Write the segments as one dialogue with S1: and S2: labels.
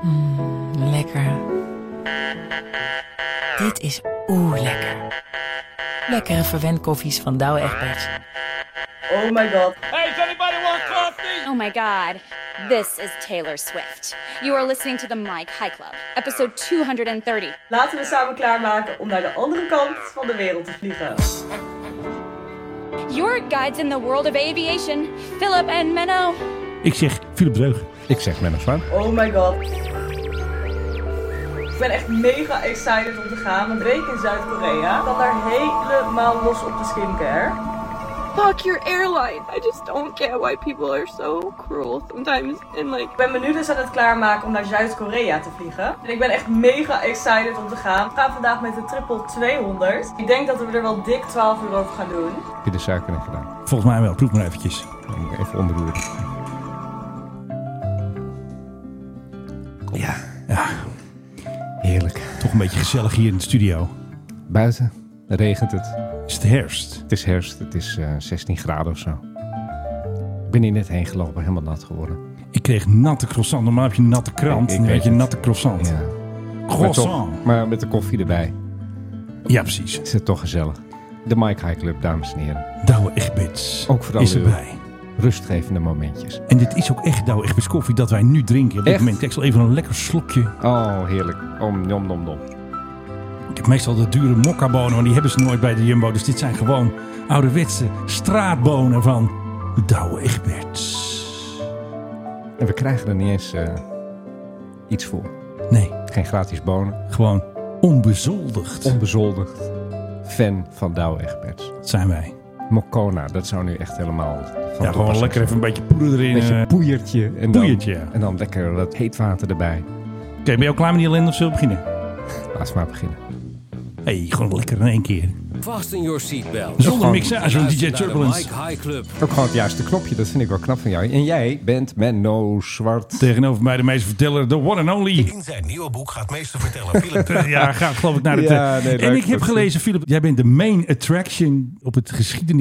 S1: Mm, lekker. Dit is oeh lekker. Lekkere verwend koffies van Douwe Egberts.
S2: Oh my god.
S3: Hey, does anybody want coffee?
S4: Oh my god. This is Taylor Swift. You are listening to the Mike High Club, episode 230.
S2: Laten we samen klaarmaken om naar de andere kant van de wereld te vliegen.
S4: Your guides in the world of aviation, Philip and Menno.
S5: Ik zeg Philip Dreug.
S6: Ik zeg Menno Zwaan.
S2: Oh my god. Ik ben echt mega excited om te gaan. Want week in Zuid-Korea gaat daar helemaal los op de skincare.
S7: fuck your airline. I just don't get why people are so cruel sometimes. And like,
S2: Ik ben me nu dus aan het klaarmaken om naar Zuid-Korea te vliegen. En ik ben echt mega excited om te gaan. We gaan vandaag met de triple 200. Ik denk dat we er wel dik 12 uur over gaan doen.
S6: Heb je de suiker in gedaan?
S5: Volgens mij wel. Proef maar eventjes.
S6: Dan moet ik even omroeren. Ja.
S5: Ja.
S6: Heerlijk.
S5: Toch een beetje gezellig hier in de studio.
S6: Buiten regent het.
S5: Is het herfst?
S6: Het is herfst. Het is eh, 16 graden of zo. Ik ben hier net heen gelopen. Helemaal nat geworden.
S5: Ik kreeg natte croissant. Normaal heb je natte krant.
S6: Ik- ik
S5: nu had
S6: weet
S5: je
S6: het.
S5: natte croissant.
S6: Ja. Maar,
S5: Croissant.
S6: toch, maar met de koffie erbij.
S5: Ja, precies.
S6: Is het toch gezellig. De Mike High Club, dames en heren.
S5: Douwe Egberts
S6: Ook voor
S5: is
S6: alle-
S5: erbij.
S6: Rustgevende momentjes.
S5: En dit is ook echt Douwe Egberts koffie dat wij nu drinken. Op dit
S6: Echt?
S5: moment. Ik zal even een lekker slokje.
S6: Oh, heerlijk. Om, nom, nom, nom.
S5: Ik heb meestal de dure mokkabonen, maar die hebben ze nooit bij de Jumbo. Dus dit zijn gewoon ouderwetse straatbonen van Douwe Egberts.
S6: En we krijgen er niet eens eh, iets voor.
S5: Nee,
S6: Geen gratis bonen.
S5: gewoon onbezoldigd
S6: onbezoldigd fan van Douwe Egberts.
S5: zijn wij.
S6: Mokona, dat zou nu echt helemaal van
S5: Ja, gewoon
S6: toepassing
S5: lekker
S6: zijn.
S5: even een beetje poeder erin. eh.
S6: Beetje
S5: Oké,
S6: poeiertje. En dan,
S5: poeiertje, ja.
S6: En dan lekker dat heet water erbij.
S5: ben je al klaar met die ellende of zullen we beginnen?
S6: Laten we maar beginnen.
S5: Hé, hey, gewoon lekker in één keer.
S8: Vast in your seatbelt.
S5: Zonder mixage, want DJ
S8: Luister naar de
S5: Turbulence.
S8: Mike High Club.
S6: Ook gewoon het juiste knopje, dat vind ik wel knap van jou. En jij bent Menno Zwart.
S5: Tegenover mij de meeste verteller, de one and only.
S9: In zijn nieuwe boek gaat meester vertellen Philip Dreugen
S5: Ja, gaat geloof ik naar het...
S6: Ja,
S5: eh,
S6: nee,
S5: en
S6: leuk,
S5: ik heb
S6: dat-
S5: gelezen, Philip, jij bent de main attraction op het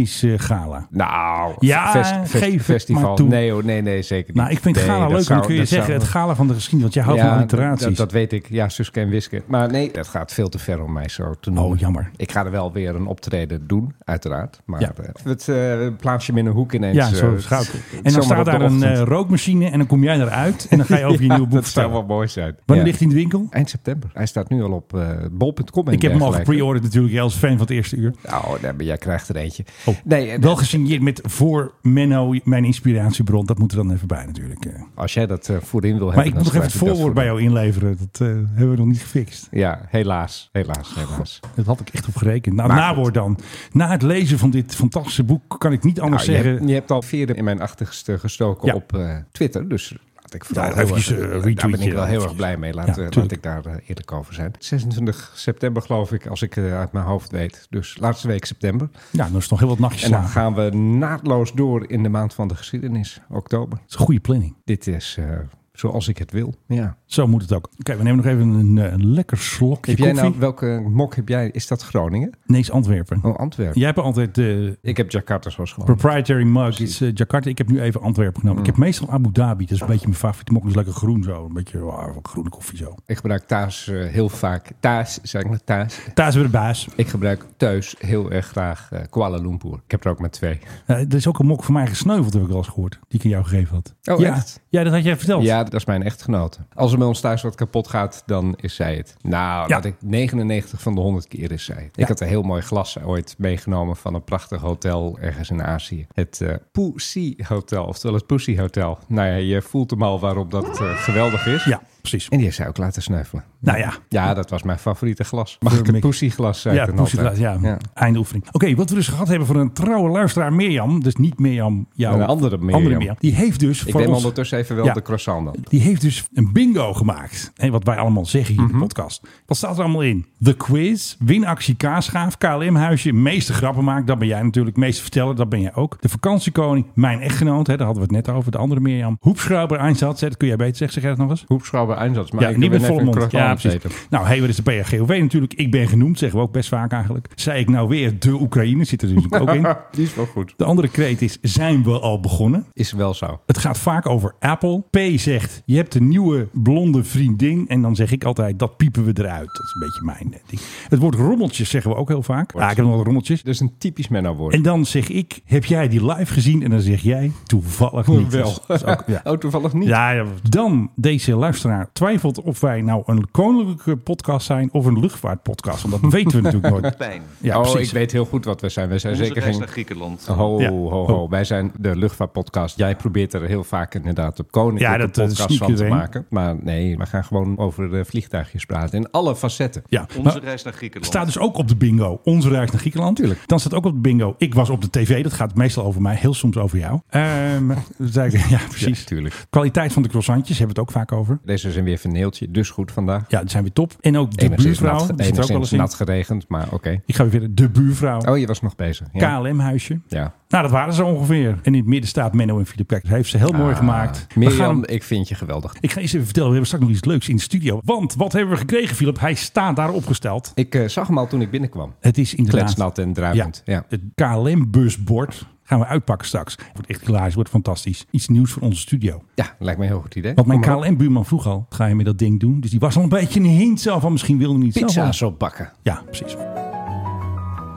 S5: geschiedenisgala.
S6: Nou,
S5: Ja, geef het maar
S6: festival.
S5: toe.
S6: Nee, hoor, nee, nee, zeker niet.
S5: Nou, ik vind het
S6: Nee,
S5: gala
S6: dat
S5: leuk,
S6: zou-
S5: want dan kun je
S6: dat
S5: zeggen
S6: zou-
S5: het gala van de geschiedenis, want jij houdt
S6: Ja,
S5: van alliteraties.
S6: Dat, dat weet ik. Ja, Suske en Wiske. Maar nee, dat gaat veel te ver om mij zo te noemen.
S5: Oh, jammer.
S6: Ik ga er wel weer een optreden doen, uiteraard. Maar
S5: Ja.
S6: eh, het eh, plaats je me in een hoek ineens.
S5: ja, zo
S6: eh,
S5: gaat
S6: het-
S5: En dan
S6: zomaar
S5: staat
S6: op de
S5: daar een
S6: ochtend.
S5: eh, rookmachine en dan kom jij eruit en dan ga je over je
S6: Ja,
S5: nieuwe boek
S6: Dat zou wel
S5: vertellen.
S6: mooi zijn.
S5: Wanneer
S6: Ja.
S5: ligt hij in de winkel?
S6: Eind september. Hij staat nu al op eh, bol.com. en
S5: Ik heb hem al
S6: dergelijke.
S5: gepre-ordered natuurlijk, jij als fan van het eerste uur.
S6: Oh, nee, maar jij krijgt er eentje.
S5: Oh,
S6: Nee, eh,
S5: wel gesigneerd met voor Menno, mijn inspiratiebron. Dat moet er dan even bij natuurlijk. eh.
S6: als jij dat eh, voorin wil hebben.
S5: Maar ik
S6: dan
S5: moet nog even
S6: schrijf
S5: het
S6: ik dat
S5: voorwoord bij
S6: voorin.
S5: jou inleveren. Dat eh, hebben we nog niet gefixt.
S6: Ja, helaas. Helaas, helaas.
S5: Dat had ik echt op gerekend. Nou,
S6: Maar goed.
S5: nawoord dan. Na het lezen van dit fantastische boek kan ik niet
S6: Nou,
S5: anders
S6: je,
S5: zeggen.
S6: hebt, je hebt al veren in mijn achterste gestoken
S5: Ja.
S6: op eh, Twitter. Dus laat ik vooral
S5: Ja,
S6: heel
S5: eventjes,
S6: erg-
S5: eh,
S6: daar ben
S5: retweetje
S6: ik wel heel erg
S5: eventjes.
S6: blij mee.
S5: Ja,
S6: Laat, eh, laat
S5: tuurlijk.
S6: ik daar eh, eerlijk over zijn. 26 september geloof ik, als ik eh, uit mijn hoofd weet. Dus laatste week september.
S5: Ja, dan is nog heel wat nachtjes
S6: En dan
S5: slapen.
S6: gaan we naadloos door in de maand van de geschiedenis. Oktober.
S5: Dat is een goede planning.
S6: Dit is eh, zoals ik het wil. Ja.
S5: Zo moet het ook. Oké, we nemen nog even een, eh, een lekker slokje
S6: Heb jij
S5: koffie.
S6: nou, welke mok heb jij? Is dat Groningen?
S5: Nee, is Antwerpen.
S6: Oh, Antwerpen.
S5: Jij hebt altijd de
S6: Ik heb Jakarta zoals gewoon.
S5: proprietary mug. is eh, Jakarta. Ik heb nu even Antwerpen genomen.
S6: Mm.
S5: Ik heb meestal Abu Dhabi. Dat is een beetje mijn favoriete mok. Dat is lekker groen zo. Een beetje wow, groene koffie zo.
S6: Ik gebruik thuis eh, heel vaak. Thuis, zeg maar thuis.
S5: Daar is weer de baas.
S6: Ik gebruik thuis heel erg graag eh, Kuala Lumpur. Ik heb er ook maar twee.
S5: Eh, er is ook een mok voor mij gesneuveld, heb ik wel eens gehoord. Die ik aan jou gegeven had.
S6: Oh,
S5: ja.
S6: echt?
S5: Ja, dat had jij verteld.
S6: Ja, dat is mijn echtgenote. Als er bij ons thuis wat kapot gaat, dan is zij het. Nou,
S5: Ja.
S6: laat ik 99 van de 100 keer is zij het.
S5: Ja.
S6: Ik had een heel mooi glas ooit meegenomen van een prachtig hotel ergens in Azië. Het eh Pussy Hotel, oftewel het Pussy Hotel. Nou ja, je voelt hem al waarom dat eh, geweldig is.
S5: Ja, precies.
S6: En die heeft zij ook laten sneuvelen.
S5: Nou ja.
S6: Ja, dat was mijn favoriete glas. Mag ik een
S5: Mick.
S6: poesieglas zijn?
S5: Ja, poesieglas, ja. Eindoefening. Oké, wat we dus gehad hebben van een trouwe luisteraar, Mirjam. Dus niet Mirjam, jouw...
S6: Een andere Mirjam.
S5: Die heeft dus
S6: Ik
S5: voor
S6: neem
S5: ons...
S6: ondertussen even wel
S5: Ja.
S6: de croissant dan.
S5: Die heeft dus een bingo gemaakt. Hè, wat wij allemaal zeggen hier in
S6: Mhm.
S5: de podcast. Wat staat er allemaal in? The quiz, winactie Kaasgaaf, KLM-huisje, meeste grappen maken. Dat ben jij natuurlijk. Meeste vertellen, dat ben jij ook. De vakantiekoning, mijn echtgenoot. Hè, daar hadden we het net over. De andere Mirjam. Hoepschrauber, Einsatz. hè, Dat kun jij beter zeggen. Zeg jij dat nog eens?
S6: Hoepschouwer Einsatz. Maar
S5: ja,
S6: ik
S5: niet
S6: ben
S5: met
S6: even
S5: volle
S6: een
S5: mond.
S6: croissant
S5: Ja,
S6: aan het
S5: precies.
S6: eten.
S5: Nou, hey, wat is de PRGOV natuurlijk? Ik ben genoemd, zeggen we ook best vaak eigenlijk. Zei ik nou weer de Oekraïne, zit er dus ook in.
S6: Die is wel goed.
S5: De andere kreet is, zijn we al begonnen?
S6: Is wel zo.
S5: Het gaat vaak over Apple. P zegt zegt, je hebt een nieuwe blonde vriendin. En dan zeg ik altijd, dat piepen we eruit. Dat is een beetje mijn eh, ding. Het woord rommeltjes zeggen we ook heel vaak. Ah, ik heb nog wat rommeltjes.
S6: Dat is een typisch Menno-woord.
S5: En dan zeg ik, heb jij die live gezien? En dan zeg jij, toevallig niet.
S6: Wel.
S5: Dat is ook- ja.
S6: Oh, toevallig niet.
S5: Ja, ja. dan deze luisteraar twijfelt of wij nou een koninklijke podcast zijn of een luchtvaartpodcast. Want dat weten we natuurlijk nooit. Ja,
S6: oh,
S5: precies.
S6: ik weet heel goed wat we zijn. We zijn zeker
S10: reis
S6: geen...
S10: naar Griekenland.
S6: Ho,
S5: Ja. Oh.
S6: ho, ho.
S5: Ho.
S6: Wij zijn de luchtvaartpodcast. Jij probeert er heel vaak inderdaad op koninklijke
S5: Ja, dat, eh,
S6: podcast
S5: sneak
S6: van te
S5: erin.
S6: maken. Maar nee, we gaan gewoon over de vliegtuigjes praten. In alle facetten.
S5: Ja, Nou,
S10: Onze
S5: maar
S10: reis naar Griekenland.
S5: staat dus ook op de bingo. Onze reis naar Griekenland.
S6: Tuurlijk.
S5: Dan staat ook op de bingo. Ik was op de tv. Dat gaat meestal over mij. Heel soms over jou. Ehm, dan zei ik- ja, precies.
S6: Ja, tuurlijk.
S5: Kwaliteit van de croissantjes hebben we het ook vaak over.
S6: Deze zijn weer verneeltje, dus goed vandaag.
S5: Ja, die zijn weer top. En ook de
S6: Enigszins
S5: buurvrouw.
S6: nat,
S5: die zit er ook wel
S6: enigszins
S5: eens in.
S6: nat geregend, maar oké.
S5: Ik ga weer verder. De buurvrouw.
S6: Oh, je was nog bezig. Ja.
S5: KLM-huisje.
S6: ja.
S5: Nou, dat waren ze ongeveer. En in het midden staat Menno en Filip Kijk. Dat heeft ze heel mooi gemaakt. We
S6: Ah, Mirjam,
S5: gaan-
S6: ik vind je geweldig.
S5: Ik ga eens even vertellen, we hebben straks nog iets leuks in de studio. Want wat hebben we gekregen, Philip? Hij staat daar opgesteld.
S6: Ik eh, zag hem al toen ik binnenkwam.
S5: Het is inderdaad...
S6: Kletsnat en
S5: ja,
S6: druipend. Ja.
S5: Het KLM-busbord gaan we uitpakken straks. Wordt echt hilarisch, wordt fantastisch. Iets nieuws voor onze studio.
S6: Ja, lijkt me een heel goed idee.
S5: Want mijn
S6: Kom maar op.
S5: KLM-buurman vroeg al, ga je met dat ding doen? Dus die was al een beetje een hint zelf van, misschien wilde hij niet zelf.
S6: pizza's
S5: wel.
S6: opbakken.
S5: Ja, precies.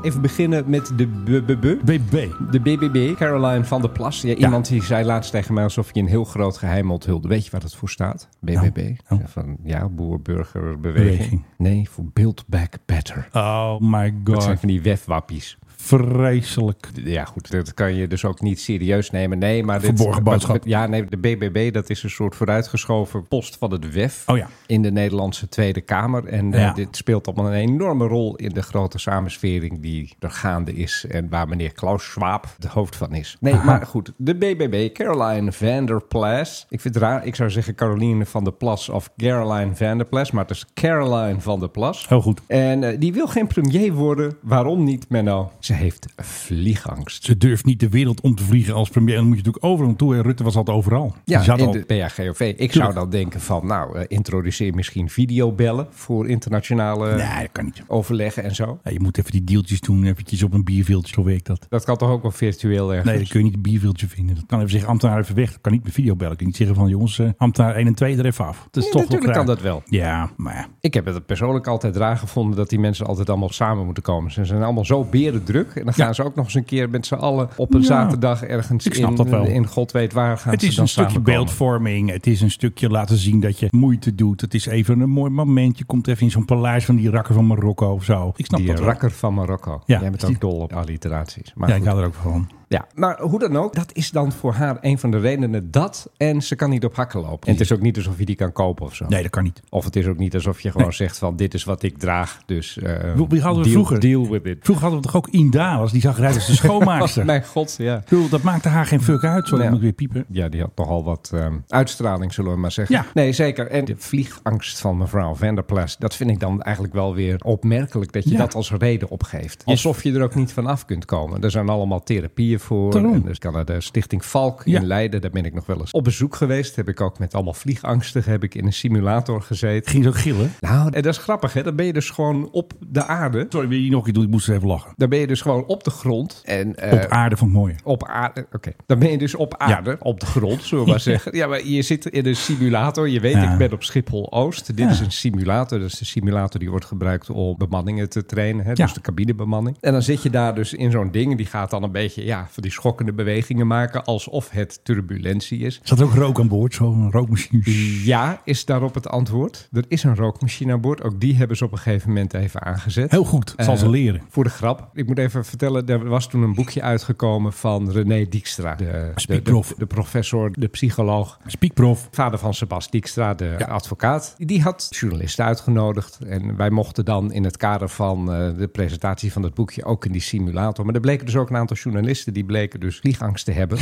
S6: Even beginnen met de BBB.
S5: BB.
S6: De BBB, Caroline van der Plas. Ja, iemand die zei laatst tegen mij alsof je een heel groot geheim onthulde. Weet je waar dat voor staat? BBB.
S5: nou.
S6: Ja, Van, ja, boer-burgerbeweging.
S5: Beweging.
S6: Nee, voor Build Back Better.
S5: Oh my
S6: Dat zijn
S5: god.
S6: van die wefwappies.
S5: Vreselijk.
S6: Ja, goed. Dat kan je dus ook niet serieus nemen. Nee, maar dit,
S5: Verborgen boodschap.
S6: Ja, nee, de BBB, dat is een soort vooruitgeschoven post van het WEF.
S5: Oh ja.
S6: In de Nederlandse Tweede Kamer. En eh,
S5: Ja.
S6: dit speelt allemaal een enorme rol in de grote samenswering die er gaande is. En waar meneer Klaus Schwab het hoofd van is. Nee, maar goed. De BBB, Caroline van der Plas. Ik vind het raar. Ik zou zeggen Caroline van der Plas of Caroline van der Plas. Maar het is Caroline van der Plas.
S5: Heel goed.
S6: En eh, die wil geen premier worden. Waarom niet, Menno? Ze heeft vliegangst.
S5: Ze durft niet de wereld om te vliegen als premier. En dan moet je natuurlijk overal naartoe. En Rutte was altijd overal.
S6: Ja,
S5: Die zat
S6: in
S5: al-
S6: de PAGOV. Ik zou dan denken van, nou, eh, introduceer misschien videobellen voor internationale
S5: Nee, dat kan niet.
S6: overleggen en zo.
S5: Ja, je moet even die deeltjes doen, eventjes op een bierveeltje, zo werkt dat.
S6: Dat kan toch ook wel virtueel ergens?
S5: Nee, dan kun je niet een bierveeltje vinden. Dat kan even zeggen, ambtenaar even weg. Dat kan niet met videobellen. Ik kan niet zeggen van, jongens, eh, ambtenaar 1 en 2 er even af. Dat
S6: Nee,
S5: is toch wel
S6: natuurlijk kan
S5: raar.
S6: dat wel.
S5: Ja, maar ja.
S6: Ik heb het persoonlijk altijd raar gevonden dat die mensen altijd allemaal samen moeten komen. Ze zijn allemaal zo berendruk. En dan gaan ze ook nog eens een keer met z'n allen op een
S5: Ja.
S6: zaterdag ergens
S5: Ik snap
S6: in,
S5: dat wel.
S6: in God weet waar gaan
S5: het
S6: ze
S5: is
S6: dan
S5: een stukje
S6: samenkomen.
S5: beeldvorming. Het is een stukje laten zien dat je moeite doet. Het is even een mooi moment. Je komt even in zo'n paleis van die rakker van Marokko of zo. Ik snap
S6: Die
S5: dat wel.
S6: rakker van Marokko.
S5: Ja.
S6: Jij bent ook dol op alliteraties. Maar
S5: Ja,
S6: goed.
S5: ik hou er ook van.
S6: Ja, maar hoe dan ook, dat is dan voor haar een van de redenen dat. En ze kan niet op hakken lopen. En het is ook niet alsof je die kan kopen of zo.
S5: Nee, dat kan niet.
S6: Of het is ook niet alsof je gewoon zegt van dit is wat ik draag. Dus eh,
S5: We- we hadden
S6: deal,
S5: vroeger-
S6: deal with it.
S5: Vroeger hadden we toch ook Inda, was die zag eruit als de schoonmaakster.
S6: Mijn god, ja.
S5: Ik bedoel, dat maakte haar geen fuck uit. Sorry,
S6: Ja.
S5: ik moet weer piepen.
S6: Ja, die had nogal wat ehm, uitstraling, zullen we maar zeggen.
S5: Ja.
S6: Nee, zeker. En de vliegangst van mevrouw Vanderplas, dat vind ik dan eigenlijk wel weer opmerkelijk dat je
S5: Ja.
S6: dat als reden opgeeft. Alsof je er ook niet van af kunt komen. Er zijn allemaal therapieën voor.
S5: Daarom.
S6: En dus kan naar de Stichting Valk
S5: Ja.
S6: in Leiden, daar ben ik nog wel eens op bezoek geweest. Heb ik ook met allemaal vliegangstigen heb ik in een simulator gezeten.
S5: Ging ze ook gillen?
S6: Nou, en dat is grappig, hè? Dan ben je dus gewoon op de aarde.
S5: Sorry, wil je die nog een keer doen? Ik moest er even lachen.
S6: Dan ben je dus gewoon op de grond. En, eh,
S5: Op aarde van het mooie.
S6: op aarde, oké. Dan ben je dus op aarde, op de grond, zullen we maar zeggen. Ja, maar je zit in een simulator. Je weet,
S5: Ja.
S6: ik ben op Schiphol-Oost. Dit
S5: Ja.
S6: is een simulator. Dat is de simulator die wordt gebruikt om bemanningen te trainen. Hè?
S5: Ja.
S6: Dus de cabinebemanning. En dan zit je daar dus in zo'n ding. Die gaat dan een beetje, ja, van die schokkende bewegingen maken. Alsof het turbulentie is.
S5: Zat er ook rook aan boord, zo'n rookmachine.
S6: Ja, is daarop het antwoord. Er is een rookmachine aan boord. Ook die hebben ze op een gegeven moment even aangezet.
S5: Heel goed, zal
S6: Eh,
S5: ze leren.
S6: Voor de grap. Ik moet even vertellen, er was toen een boekje uitgekomen van René Dijkstra. De, de, de,
S5: Speakprof.
S6: de professor, de psycholoog.
S5: Speakprof.
S6: Vader van Sebas Dijkstra, de
S5: Ja.
S6: advocaat. Die had journalisten uitgenodigd. En wij mochten dan in het kader van eh, de presentatie van het boekje ook in die simulator. Maar er bleken dus ook een aantal journalisten die bleken dus vliegangst te hebben.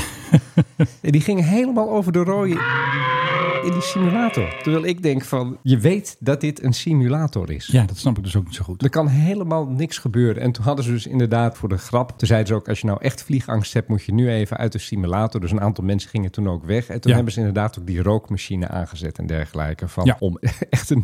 S6: en die gingen helemaal over de rode in die simulator. Terwijl ik denk van, je weet dat dit een simulator is.
S5: Ja, dat snap ik dus ook niet zo goed.
S6: Er kan helemaal niks gebeuren. En toen hadden ze dus inderdaad voor de grap. Toen zeiden ze ook: als je nou echt vliegangst hebt, moet je nu even uit de simulator. Dus een aantal mensen gingen toen ook weg. En toen
S5: Ja.
S6: hebben ze inderdaad ook die rookmachine aangezet en dergelijke. Van,
S5: Ja.
S6: Om echte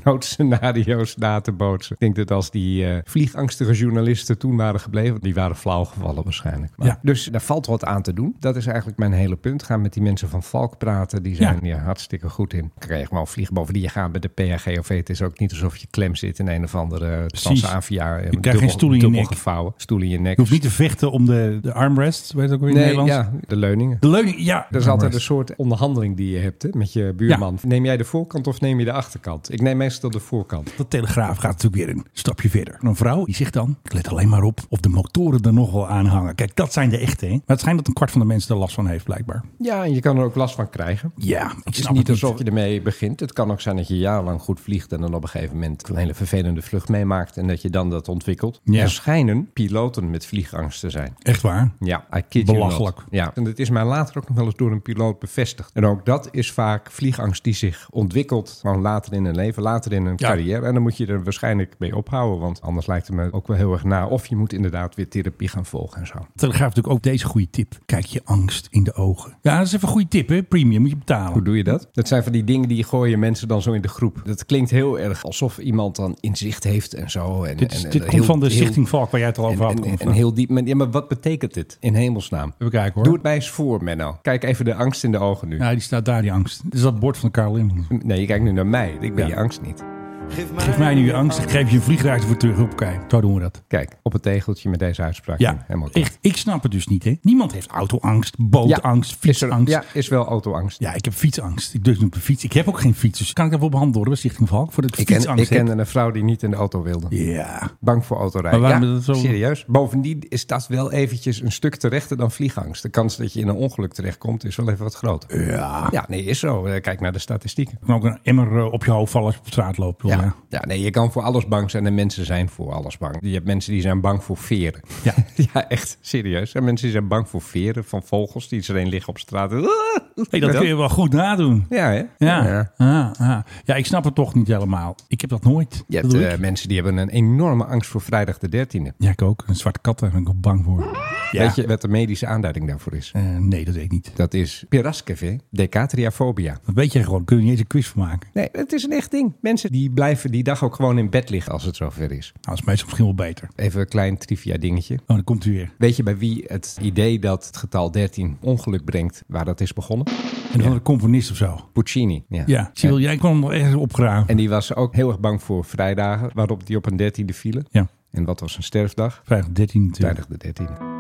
S6: noodscenario's na te bootsen. Ik denk dat als die eh, vliegangstige journalisten toen waren gebleven, die waren flauw gevallen waarschijnlijk. Maar,
S5: Ja.
S6: Dus daar valt wat aan te doen. Dat is eigenlijk mijn hele punt. Gaan met die mensen van Valk praten. Die zijn ja. hartstikke goed. goed in. Dan kan je gewoon vliegen boven die je gaat met de PHGOV. Het is ook niet alsof je klem zit in een of andere Transavia. Je
S5: krijgt geen stoel in je nek.
S6: eh, gevouwen. Stoel in je nek.
S5: Je hoeft niet te vechten om de, de armrest, weet je ook weer in het
S6: nee,
S5: Nederlands?
S6: ja, de leuningen.
S5: De leuning, ja.
S6: Dat is altijd een soort onderhandeling die je hebt hè, met je buurman. Neem jij de voorkant of neem je de achterkant? Ik neem meestal de voorkant.
S5: De Telegraaf gaat natuurlijk weer een stapje verder. Een vrouw die zegt dan, ik let alleen maar op of de motoren er nog wel aan hangen. Kijk, dat zijn de echte, hè? Maar het schijnt dat een kwart van de mensen er last van heeft, blijkbaar.
S6: Ja, en je kan er ook last van krijgen.
S5: Ja, ik
S6: Het is
S5: snap
S6: niet
S5: het
S6: alsof je ermee begint. Het kan ook zijn dat je jarenlang goed vliegt en dan op een gegeven moment een hele vervelende vlucht meemaakt en dat je dan dat ontwikkelt.
S5: Ja.
S6: Er schijnen piloten met vliegangst te zijn.
S5: Echt waar?
S6: Ja, I kid you not.
S5: Belachelijk.
S6: Ja, en dat is mij later ook nog wel eens door een piloot bevestigd. En ook dat is vaak vliegangst die zich ontwikkelt gewoon later in een leven, later in een
S5: Ja.
S6: carrière. En dan moet je er waarschijnlijk mee ophouden, want anders lijkt het me ook wel heel erg na. Of je moet inderdaad weer therapie gaan volgen en zo.
S5: De Telegraaf heeft natuurlijk ook deze goede tip. Kijk je angst in de ogen. Ja, dat is even een goede tip, hè? Premium moet je betalen.
S6: Hoe doe je dat? Dat zijn van die dingen die gooien mensen dan zo in de groep. Dat klinkt heel erg alsof iemand dan inzicht heeft en zo. En,
S5: dit is-
S6: en- en
S5: dit komt
S6: heel-
S5: van de
S6: heel-
S5: Stichting Valk, waar jij het al over
S6: En,
S5: had.
S6: en,
S5: Of, eh,
S6: en heel diep. Maar, ja, maar wat betekent dit in hemelsnaam?
S5: Even kijken, hoor.
S6: Doe het mij eens voor, Menno. Kijk even de angst in de ogen nu.
S5: Ja, die staat daar, die angst. Dat is dat bord van de KLM.
S6: Nee, je kijkt nu naar mij. Ik ben
S5: Ja.
S6: je angst niet.
S5: Geef mij nu je angst, ik geef je een vliegreis voor terug. Hoppakee, zo doen we dat.
S6: Kijk, op het tegeltje met deze uitspraak.
S5: Ja,
S6: helemaal klaar.
S5: echt. Ik snap het dus niet, hè? Niemand heeft autoangst, bootangst,
S6: Is er-
S5: fietsangst.
S6: Ja, is wel autoangst.
S5: Ja, ik heb fietsangst. Ik durf niet op de fiets. Ik heb ook geen fiets. Dus kan ik daarvoor op hand worden bij Stichting Valk? Voordat ik,
S6: ik ken, ik
S5: fietsangst heb?
S6: kende een vrouw die niet in de auto wilde.
S5: Ja.
S6: Bang voor autorijden.
S5: Maar waarom
S6: ja,
S5: is dat zo-
S6: serieus. Bovendien is dat wel eventjes een stuk terechter dan vliegangst. De kans dat je in een ongeluk terechtkomt is wel even wat groter. Ja. Ja, nee, is zo. Eh, Kijk naar de statistieken.
S5: Kan ook een emmer eh, op je hoofd vallen als je op straat loopt. joh,
S6: Ja.
S5: ja.
S6: ja, nee, je kan voor alles bang zijn en mensen zijn voor alles bang. Je hebt mensen die zijn bang voor veren.
S5: Ja.
S6: ja echt serieus. Er zijn mensen die zijn bang voor veren van vogels die iedereen liggen op straat.
S5: Hey, dat kun je wel goed nadoen.
S6: Ja, hè?
S5: Ja. Ja. Ja, Ja, ik snap het toch niet helemaal. Ik heb dat nooit.
S6: Je
S5: Dat
S6: hebt
S5: doe
S6: eh,
S5: ik.
S6: mensen die hebben een enorme angst voor vrijdag de 13e.
S5: Ja, ik ook. Een zwarte kat, daar ben ik ook bang voor. Ja.
S6: Weet je wat de medische aanduiding daarvoor is?
S5: Eh, nee, dat weet ik niet.
S6: Dat is piraskev, decatriafobia.
S5: Dat weet jij gewoon. Kun je niet eens een quiz van maken.
S6: Nee, het is een echt ding. Mensen die blijven die dag ook gewoon in bed liggen als het zover is.
S5: Nou, dat is meestal misschien wel beter.
S6: Even een klein trivia dingetje.
S5: Oh, dan komt u weer.
S6: Weet je bij wie het idee dat het getal 13 ongeluk brengt, waar dat is begonnen?
S5: En dan een componist of zo.
S6: Puccini.
S5: Ja, zie je wel, jij kwam nog ergens opgraven.
S6: En die was ook heel erg bang voor vrijdagen, waarop die op een dertiende vielen.
S5: Ja,
S6: En wat was een sterfdag?
S5: vrijdag 13 natuurlijk.
S6: Vrijdag de dertiende.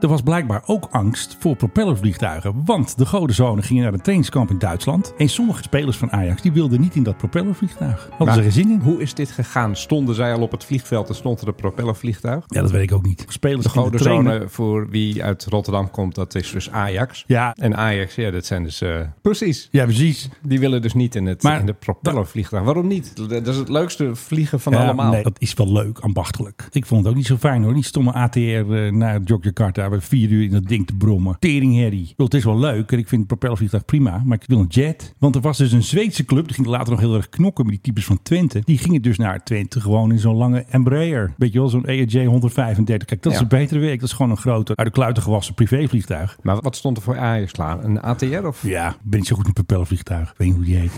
S5: Er was blijkbaar ook angst voor propellervliegtuigen, want de godenzonen gingen naar een trainingskamp in Duitsland en sommige spelers van Ajax die wilden niet in dat propellervliegtuig. Hadden ze geen zin in?
S6: Hoe is dit gegaan? Stonden zij al op het vliegveld en stond er een propellervliegtuig?
S5: Ja, dat weet ik ook niet. Spelers
S6: De
S5: gingen trainen.
S6: godenzone voor wie uit Rotterdam komt, dat is dus Ajax.
S5: Ja.
S6: En Ajax, ja, dat zijn dus... eh, precies.
S5: Ja, precies.
S6: Die willen dus niet in, het,
S5: Maar-
S6: in de propellervliegtuig. Waarom niet? Dat is het leukste vliegen van
S5: Ja,
S6: allemaal.
S5: Nee, dat is wel leuk, ambachtelijk. Ik vond het ook niet zo fijn hoor. Die stomme ATR eh, naar Jogjakarta. We vier uur in dat ding te brommen. Teringherrie. Ik bedoel, Het is wel leuk en ik vind het propellervliegtuig prima. Maar ik wil een jet. Want er was dus een Zweedse club. Die ging later nog heel erg knokken met die types van Twente. Die gingen dus naar Twente gewoon in zo'n lange Embraer. Weet je wel, zo'n ERJ 135. Kijk, dat is
S6: Ja.
S5: een betere werk. Dat is gewoon een grote, uit de kluiten gewassen privévliegtuig.
S6: Maar wat stond er voor Ajax klaar? Een ATR of...
S5: Ja, ik ben niet zo goed in propellervliegtuig. Ik weet niet hoe die heet.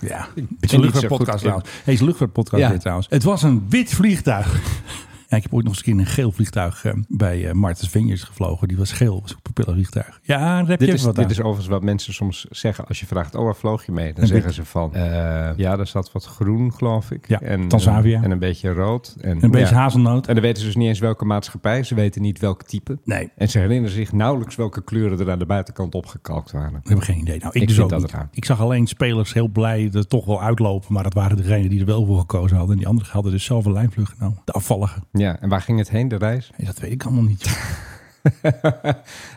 S5: Ja, het is
S6: zo
S5: een luchtvaartpodcast
S6: goed
S5: trouwens. Hey, het is een luchtvaartpodcast
S6: Ja.
S5: weer trouwens. Het was een wit vliegtuig. Ja, ik heb ooit nog eens een keer een geel vliegtuig eh, bij eh, Martens Vingers gevlogen. Die was geel, was ook een propellervliegtuig. Ja, daar
S6: Dit
S5: heb je
S6: is,
S5: even wat aan.
S6: dit is overigens wat mensen soms zeggen als je vraagt, oh, waar vloog je mee? Dan
S5: Een
S6: zeggen
S5: beetje-
S6: ze van, eh, ja, daar zat wat groen, geloof ik.
S5: Ja,
S6: en,
S5: Transavia.
S6: eh, En een beetje rood. En,
S5: Een beetje
S6: ja.
S5: hazelnoot.
S6: En dan weten ze dus niet eens welke maatschappij, ze weten niet welk type.
S5: Nee,
S6: En ze herinneren zich nauwelijks welke kleuren er aan de buitenkant opgekalkt waren.
S5: we hebben geen idee. Nou, ik,
S6: Ik
S5: dus
S6: vind
S5: ook
S6: dat
S5: niet.
S6: het raar.
S5: Ik zag alleen spelers heel blij er toch wel uitlopen. Maar dat waren degenen die er wel voor gekozen hadden. En die anderen hadden dus zelf een lijnvlucht genomen. De afvalligen.
S6: Ja, en waar ging het heen, de reis?
S5: Hey, dat weet ik allemaal niet.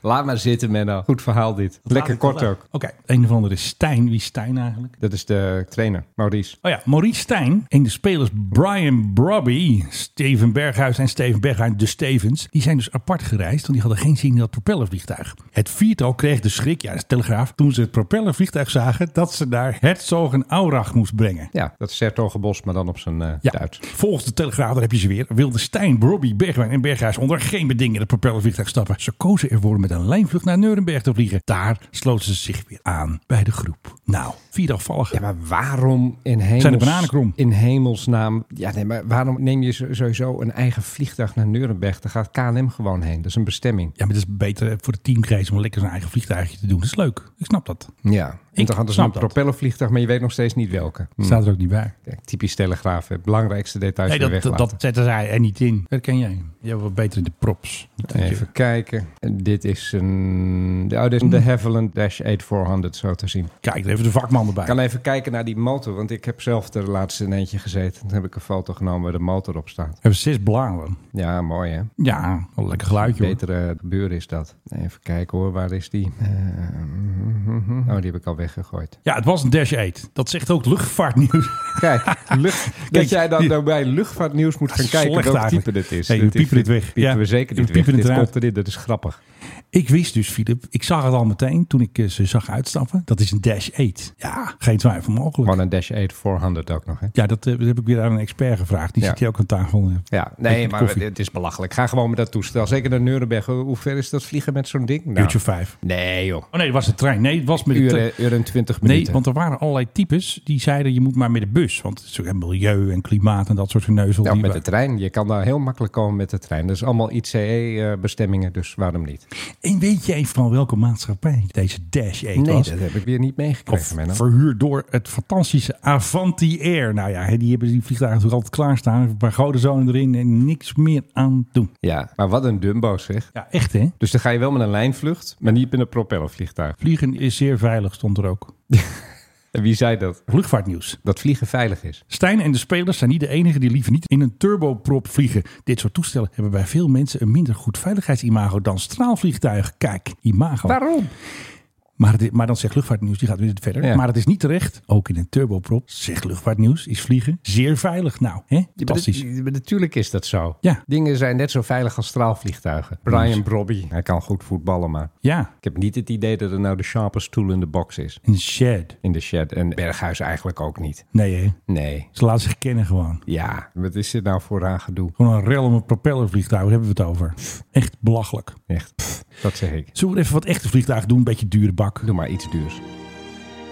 S6: Laat maar zitten, Menno. Goed verhaal dit. Lekker kort ook.
S5: Oké, een of andere is Stijn. Wie is Stijn eigenlijk?
S6: Dat is de trainer, Maurice.
S5: Oh ja, Maurice Stijn en de spelers Brian Brobby, Steven Berghuis en Steven Berghuis, de Stevens, die zijn dus apart gereisd, want die hadden geen zin in dat propellervliegtuig. Het viertal kreeg de schrik, ja, dat is Telegraaf, toen ze het propellervliegtuig zagen dat ze naar Herzogen Aurach moest brengen.
S6: Ja, dat is Sertogenbos, maar dan op zijn eh
S5: Ja,
S6: Duits.
S5: volgens de Telegraaf, daar heb je ze weer, wilden Stijn, Brobby, Bergwijn en Berghuis onder geen beding in het propellervliegtuig stappen. Ze kozen ervoor om met een lijnvlucht naar Nuremberg te vliegen. Daar sloten ze zich weer aan bij de groep. Nou, vier afvalligen.
S6: Ja, maar waarom in, hemels,
S5: Zijn de bananen krom?
S6: in hemelsnaam... Ja, nee, maar waarom neem je zo- sowieso een eigen vliegtuig naar Nuremberg? Daar gaat KLM gewoon heen. Dat is een bestemming.
S5: Ja, maar het is beter voor de teamgeest om lekker zijn eigen vliegtuigje te doen. Dat is leuk. Ik snap dat.
S6: Ja.
S5: Ik
S6: En dan hadden ze een
S5: snap dat.
S6: propellervliegtuig, maar je weet nog steeds niet welke. Hm.
S5: Staat er ook niet bij.
S6: Kijk, typisch telegraaf. hè. belangrijkste details
S5: Nee,
S6: weer
S5: dat, dat,
S6: weglaten.
S5: dat zetten zij er niet in. Dat ken jij. Jij bent wel beter in de props.
S6: Even kijken. En Dit is een... Oh, dit is
S5: Hmm.
S6: een de Havilland Dash 8400 zo te zien.
S5: Kijk, er even de vakman
S6: Ik
S5: erbij.
S6: kan even kijken naar die motor, want ik heb zelf er laatst in eentje gezeten. Toen heb ik een foto genomen waar de motor op staat.
S5: Even zes blauwen.
S6: Ja, mooi hè?
S5: Ja, wel een lekker geluidje hoor.
S6: Betere buur is dat. Even kijken hoor, waar is die? Eh, oh, die heb ik al weggegooid.
S5: Ja, het was een Dash 8. Dat zegt ook luchtvaartnieuws.
S6: Kijk, lucht, dat jij dan nou bij luchtvaartnieuws moet gaan kijken
S5: Slecht
S6: welk type
S5: eigenlijk.
S6: dit is.
S5: Nee, we
S6: dit is-
S5: piepen dit weg.
S6: Piepen
S5: Ja,
S6: we zeker
S5: we
S6: niet weg.
S5: piepen
S6: Dit
S5: het eruit.
S6: komt erin, dat is grappig.
S5: Ik wist dus, Filip, ik zag het al meteen toen ik eh, ze zag uitstappen. Dat is een Dash 8. Ja, geen twijfel mogelijk.
S6: Gewoon een Dash 8400 ook nog hè?
S5: Ja, dat, eh, dat heb ik weer aan een expert gevraagd. Die
S6: Ja.
S5: zit hier ook aan tafel. eh.
S6: Ja,
S5: Beetje
S6: nee,
S5: met
S6: maar
S5: koffie.
S6: het is belachelijk. Ga gewoon met dat toestel. Zeker naar Nuremberg. Hoe hoe ver is dat vliegen met zo'n ding? Nou,
S5: Uurtje vijf.
S6: nee joh.
S5: Oh nee, het was de trein. Nee, het was met de trein.
S6: Uren, uur en twintig minuten.
S5: Nee, want er waren allerlei types die zeiden je moet maar met de bus. Want het is ook een milieu en klimaat en dat soort geneuzel.
S6: Nou,
S5: die
S6: met
S5: we-
S6: de trein. Je kan daar heel makkelijk komen met de trein. Dat is allemaal ICE-bestemmingen, dus waarom niet?
S5: En weet jij van welke maatschappij deze Dash 8 was?
S6: dat heb ik weer niet
S5: Of
S6: meegekregen. Menno.
S5: verhuurd door het fantastische Avanti Air. Nou ja, hè, die hebben die vliegtuigen natuurlijk altijd klaarstaan. Even Een paar godenzonen erin en niks meer aan doen.
S6: Ja, maar wat een dumbo zeg.
S5: Ja, echt hè?
S6: Dus dan ga je wel met een lijnvlucht, maar niet met een propellervliegtuig.
S5: Vliegen is zeer veilig, stond er ook.
S6: En wie zei dat?
S5: Luchtvaartnieuws.
S6: Dat vliegen veilig is.
S5: Stijn en de spelers zijn niet de enigen die liever niet in een turboprop vliegen. Dit soort toestellen hebben bij veel mensen een minder goed veiligheidsimago dan straalvliegtuigen. Kijk, imago.
S6: Waarom?
S5: Maar, dit- maar dan zegt Luchtvaartnieuws, die gaat weer verder.
S6: Ja.
S5: Maar het is niet terecht. Ook in een turboprop, zegt Luchtvaartnieuws, is vliegen zeer veilig. Nou, hè? fantastisch.
S6: Natuurlijk is dat zo.
S5: Ja.
S6: Dingen zijn net zo veilig als straalvliegtuigen. Brian Brobby, hij kan goed voetballen, maar
S5: Ja,
S6: ik heb niet het idee dat er nou de sharpest tool in de box is.
S5: een shed.
S6: In de shed. En Berghuis eigenlijk ook niet.
S5: Nee, hè?
S6: Nee.
S5: Ze laten zich kennen gewoon.
S6: Ja, wat is dit nou voor raar gedoe?
S5: Gewoon een rel om een propellervliegtuig, daar hebben we het over. Echt belachelijk.
S6: Echt, pff, dat zeg ik.
S5: Zullen we even wat echte vliegtuigen doen? Een beetje dure bak.
S6: Doe maar iets duurs.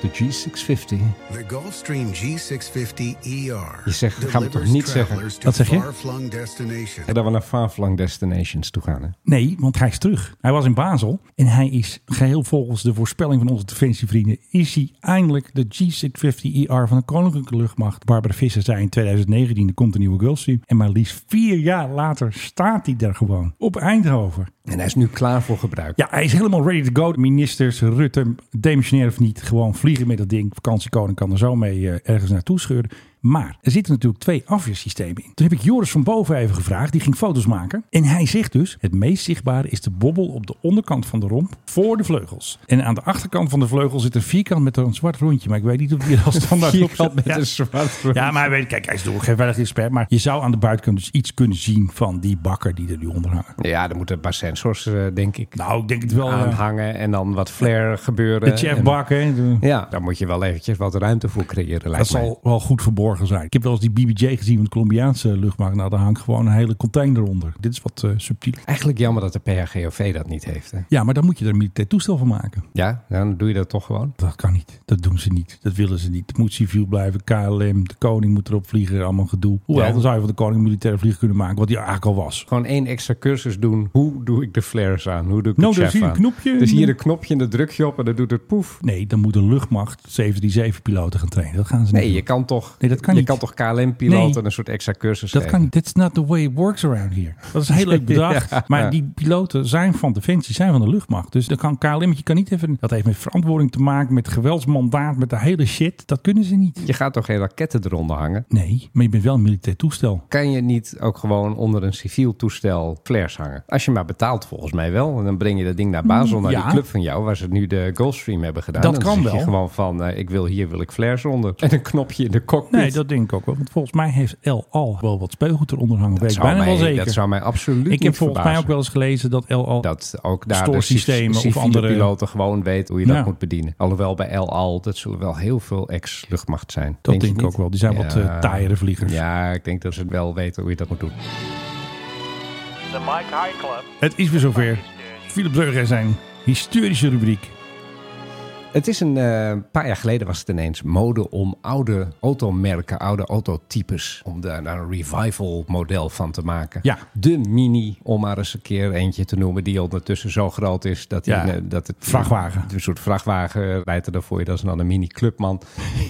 S6: De G650.
S9: The Gulfstream G650 ER.
S6: Je zegt, ga me toch niet zeggen.
S5: Wat zeg je?
S9: Far-flung destination.
S6: En dat we naar Farflang Destinations toe gaan, hè?
S5: Nee, want hij is terug. Hij was in Basel en hij is geheel volgens de voorspelling van onze defensievrienden... is hij eindelijk de G650ER E van de Koninklijke Luchtmacht. Barbara Visser zei in 2019, er komt een nieuwe Gulfstream. En maar liefst vier jaar later staat hij daar gewoon, op Eindhoven.
S6: En hij is nu klaar voor gebruik.
S5: Ja, hij is helemaal ready to go. De Ministers, Rutte, demissionair of niet, gewoon vliegen met dat ding. Vakantiekoning kan er zo mee eh, ergens naartoe scheuren. Maar er zitten natuurlijk twee afweersystemen in. Toen heb ik Joris van Boven even gevraagd, die ging foto's maken. En hij zegt dus, het meest zichtbare is de bobbel op de onderkant van de romp voor de vleugels. En aan de achterkant van de vleugel zit een vierkant met een zwart rondje. Maar ik weet niet of die er al standaard op
S6: Vierkant
S5: staat.
S6: met
S5: Ja.
S6: een zwart rond.
S5: Ja, maar hij weet, kijk, hij is natuurlijk geen veilig expert. Maar je zou aan de buitenkant dus iets kunnen zien van die bakker die er nu onder hangen.
S6: Ja, er moeten een paar sensors, eh, denk ik,
S5: Nou, ik denk het wel. eh,
S6: aanhangen. En dan wat flare gebeuren.
S5: de chef
S6: En-
S5: bakken.
S6: Ja, daar moet je wel eventjes wat ruimte voor creëren,
S5: Dat
S6: lijkt mij.
S5: zal wel goed verborgen zijn. Ik heb wel eens die BBJ gezien van de Colombiaanse luchtmacht. Nou, daar hangt gewoon een hele container onder. Dit is wat eh subtiel.
S6: Eigenlijk jammer dat de PRGOV dat niet heeft, hè?
S5: Ja, maar dan moet je er een militair toestel van maken.
S6: Ja, dan doe je dat toch gewoon.
S5: Dat kan niet. Dat doen ze niet. Dat willen ze niet. Het moet civiel blijven. KLM, de koning moet erop vliegen. Allemaal gedoe. Hoewel,
S6: Ja.
S5: dan zou je van de koning een militaire vlieger kunnen maken. Wat die eigenlijk al was.
S6: Gewoon één extra cursus doen. Hoe doe ik de flares aan? Hoe doe ik
S5: Nou,
S6: de
S5: daar
S6: chef
S5: zie je een
S6: aan?
S5: knopje.
S6: Er is hier een knopje en dat druk je op en dan doet het poef.
S5: Nee, dan moet de luchtmacht 737-piloten gaan trainen. Dat gaan ze
S6: Nee,
S5: niet
S6: je
S5: doen.
S6: kan toch,
S5: Nee, dat kan
S6: je
S5: niet.
S6: kan toch KLM-piloten
S5: Nee.
S6: een soort extra cursus
S5: Dat
S6: geven?
S5: kan niet. That's not the way it works around here. Dat is een heel leuk bedrag.
S6: Ja.
S5: Maar die piloten zijn van Defensie, zijn van de luchtmacht. Dus dan kan KLM, je kan niet even... Dat heeft met verantwoording te maken, met geweldsmandaat, met de hele shit. Dat kunnen ze niet.
S6: Je gaat toch geen raketten eronder hangen?
S5: Nee, maar je bent wel een militair toestel.
S6: Kan je niet ook gewoon onder een civiel toestel flares hangen? Als je maar betaalt, volgens mij wel. En dan breng je dat ding naar Basel, naar
S5: Mm, ja.
S6: die club van jou, waar ze nu de Gulfstream hebben gedaan.
S5: Dat
S6: En dan
S5: kan
S6: zeg je
S5: wel.
S6: gewoon van, eh, ik wil hier, wil ik flares onder. En een knopje in de cockpit.
S5: Nee, dat denk ik ook wel. Want volgens mij heeft El Al wel wat speelgoed eronder hangen. weet ik
S6: zou
S5: bijna
S6: mij,
S5: wel zeker.
S6: Dat zou mij absoluut
S5: ik heb
S6: niet
S5: volgens mij
S6: verbazen.
S5: ook wel eens gelezen dat El Al...
S6: dat ook daar de
S5: Stoorsystemen
S6: civ-
S5: of
S6: civiele
S5: andere-
S6: piloten gewoon weet hoe je dat
S5: Ja.
S6: moet bedienen. Alhoewel bij El Al, dat zullen wel heel veel ex-luchtmacht zijn.
S5: Dat
S6: je
S5: denk ik
S6: niet?
S5: ook wel. Die zijn wat, eh, taaiere vliegers.
S6: Ja, ik denk dat ze het wel weten hoe je dat moet doen.
S3: The Mike High Club.
S5: Het is weer zover. Philip Breuger en zijn historische rubriek.
S6: Het is een eh, paar jaar geleden was het ineens mode om oude automerken, oude autotypes, om daar daar een revival model van te maken.
S5: Ja.
S6: De Mini, om maar eens een keer eentje te noemen, die ondertussen zo groot is dat,
S5: Ja.
S6: die, eh, dat het...
S5: Vrachtwagen.
S6: Een soort vrachtwagen rijdt er dan voor je, dat is dan een Mini Clubman.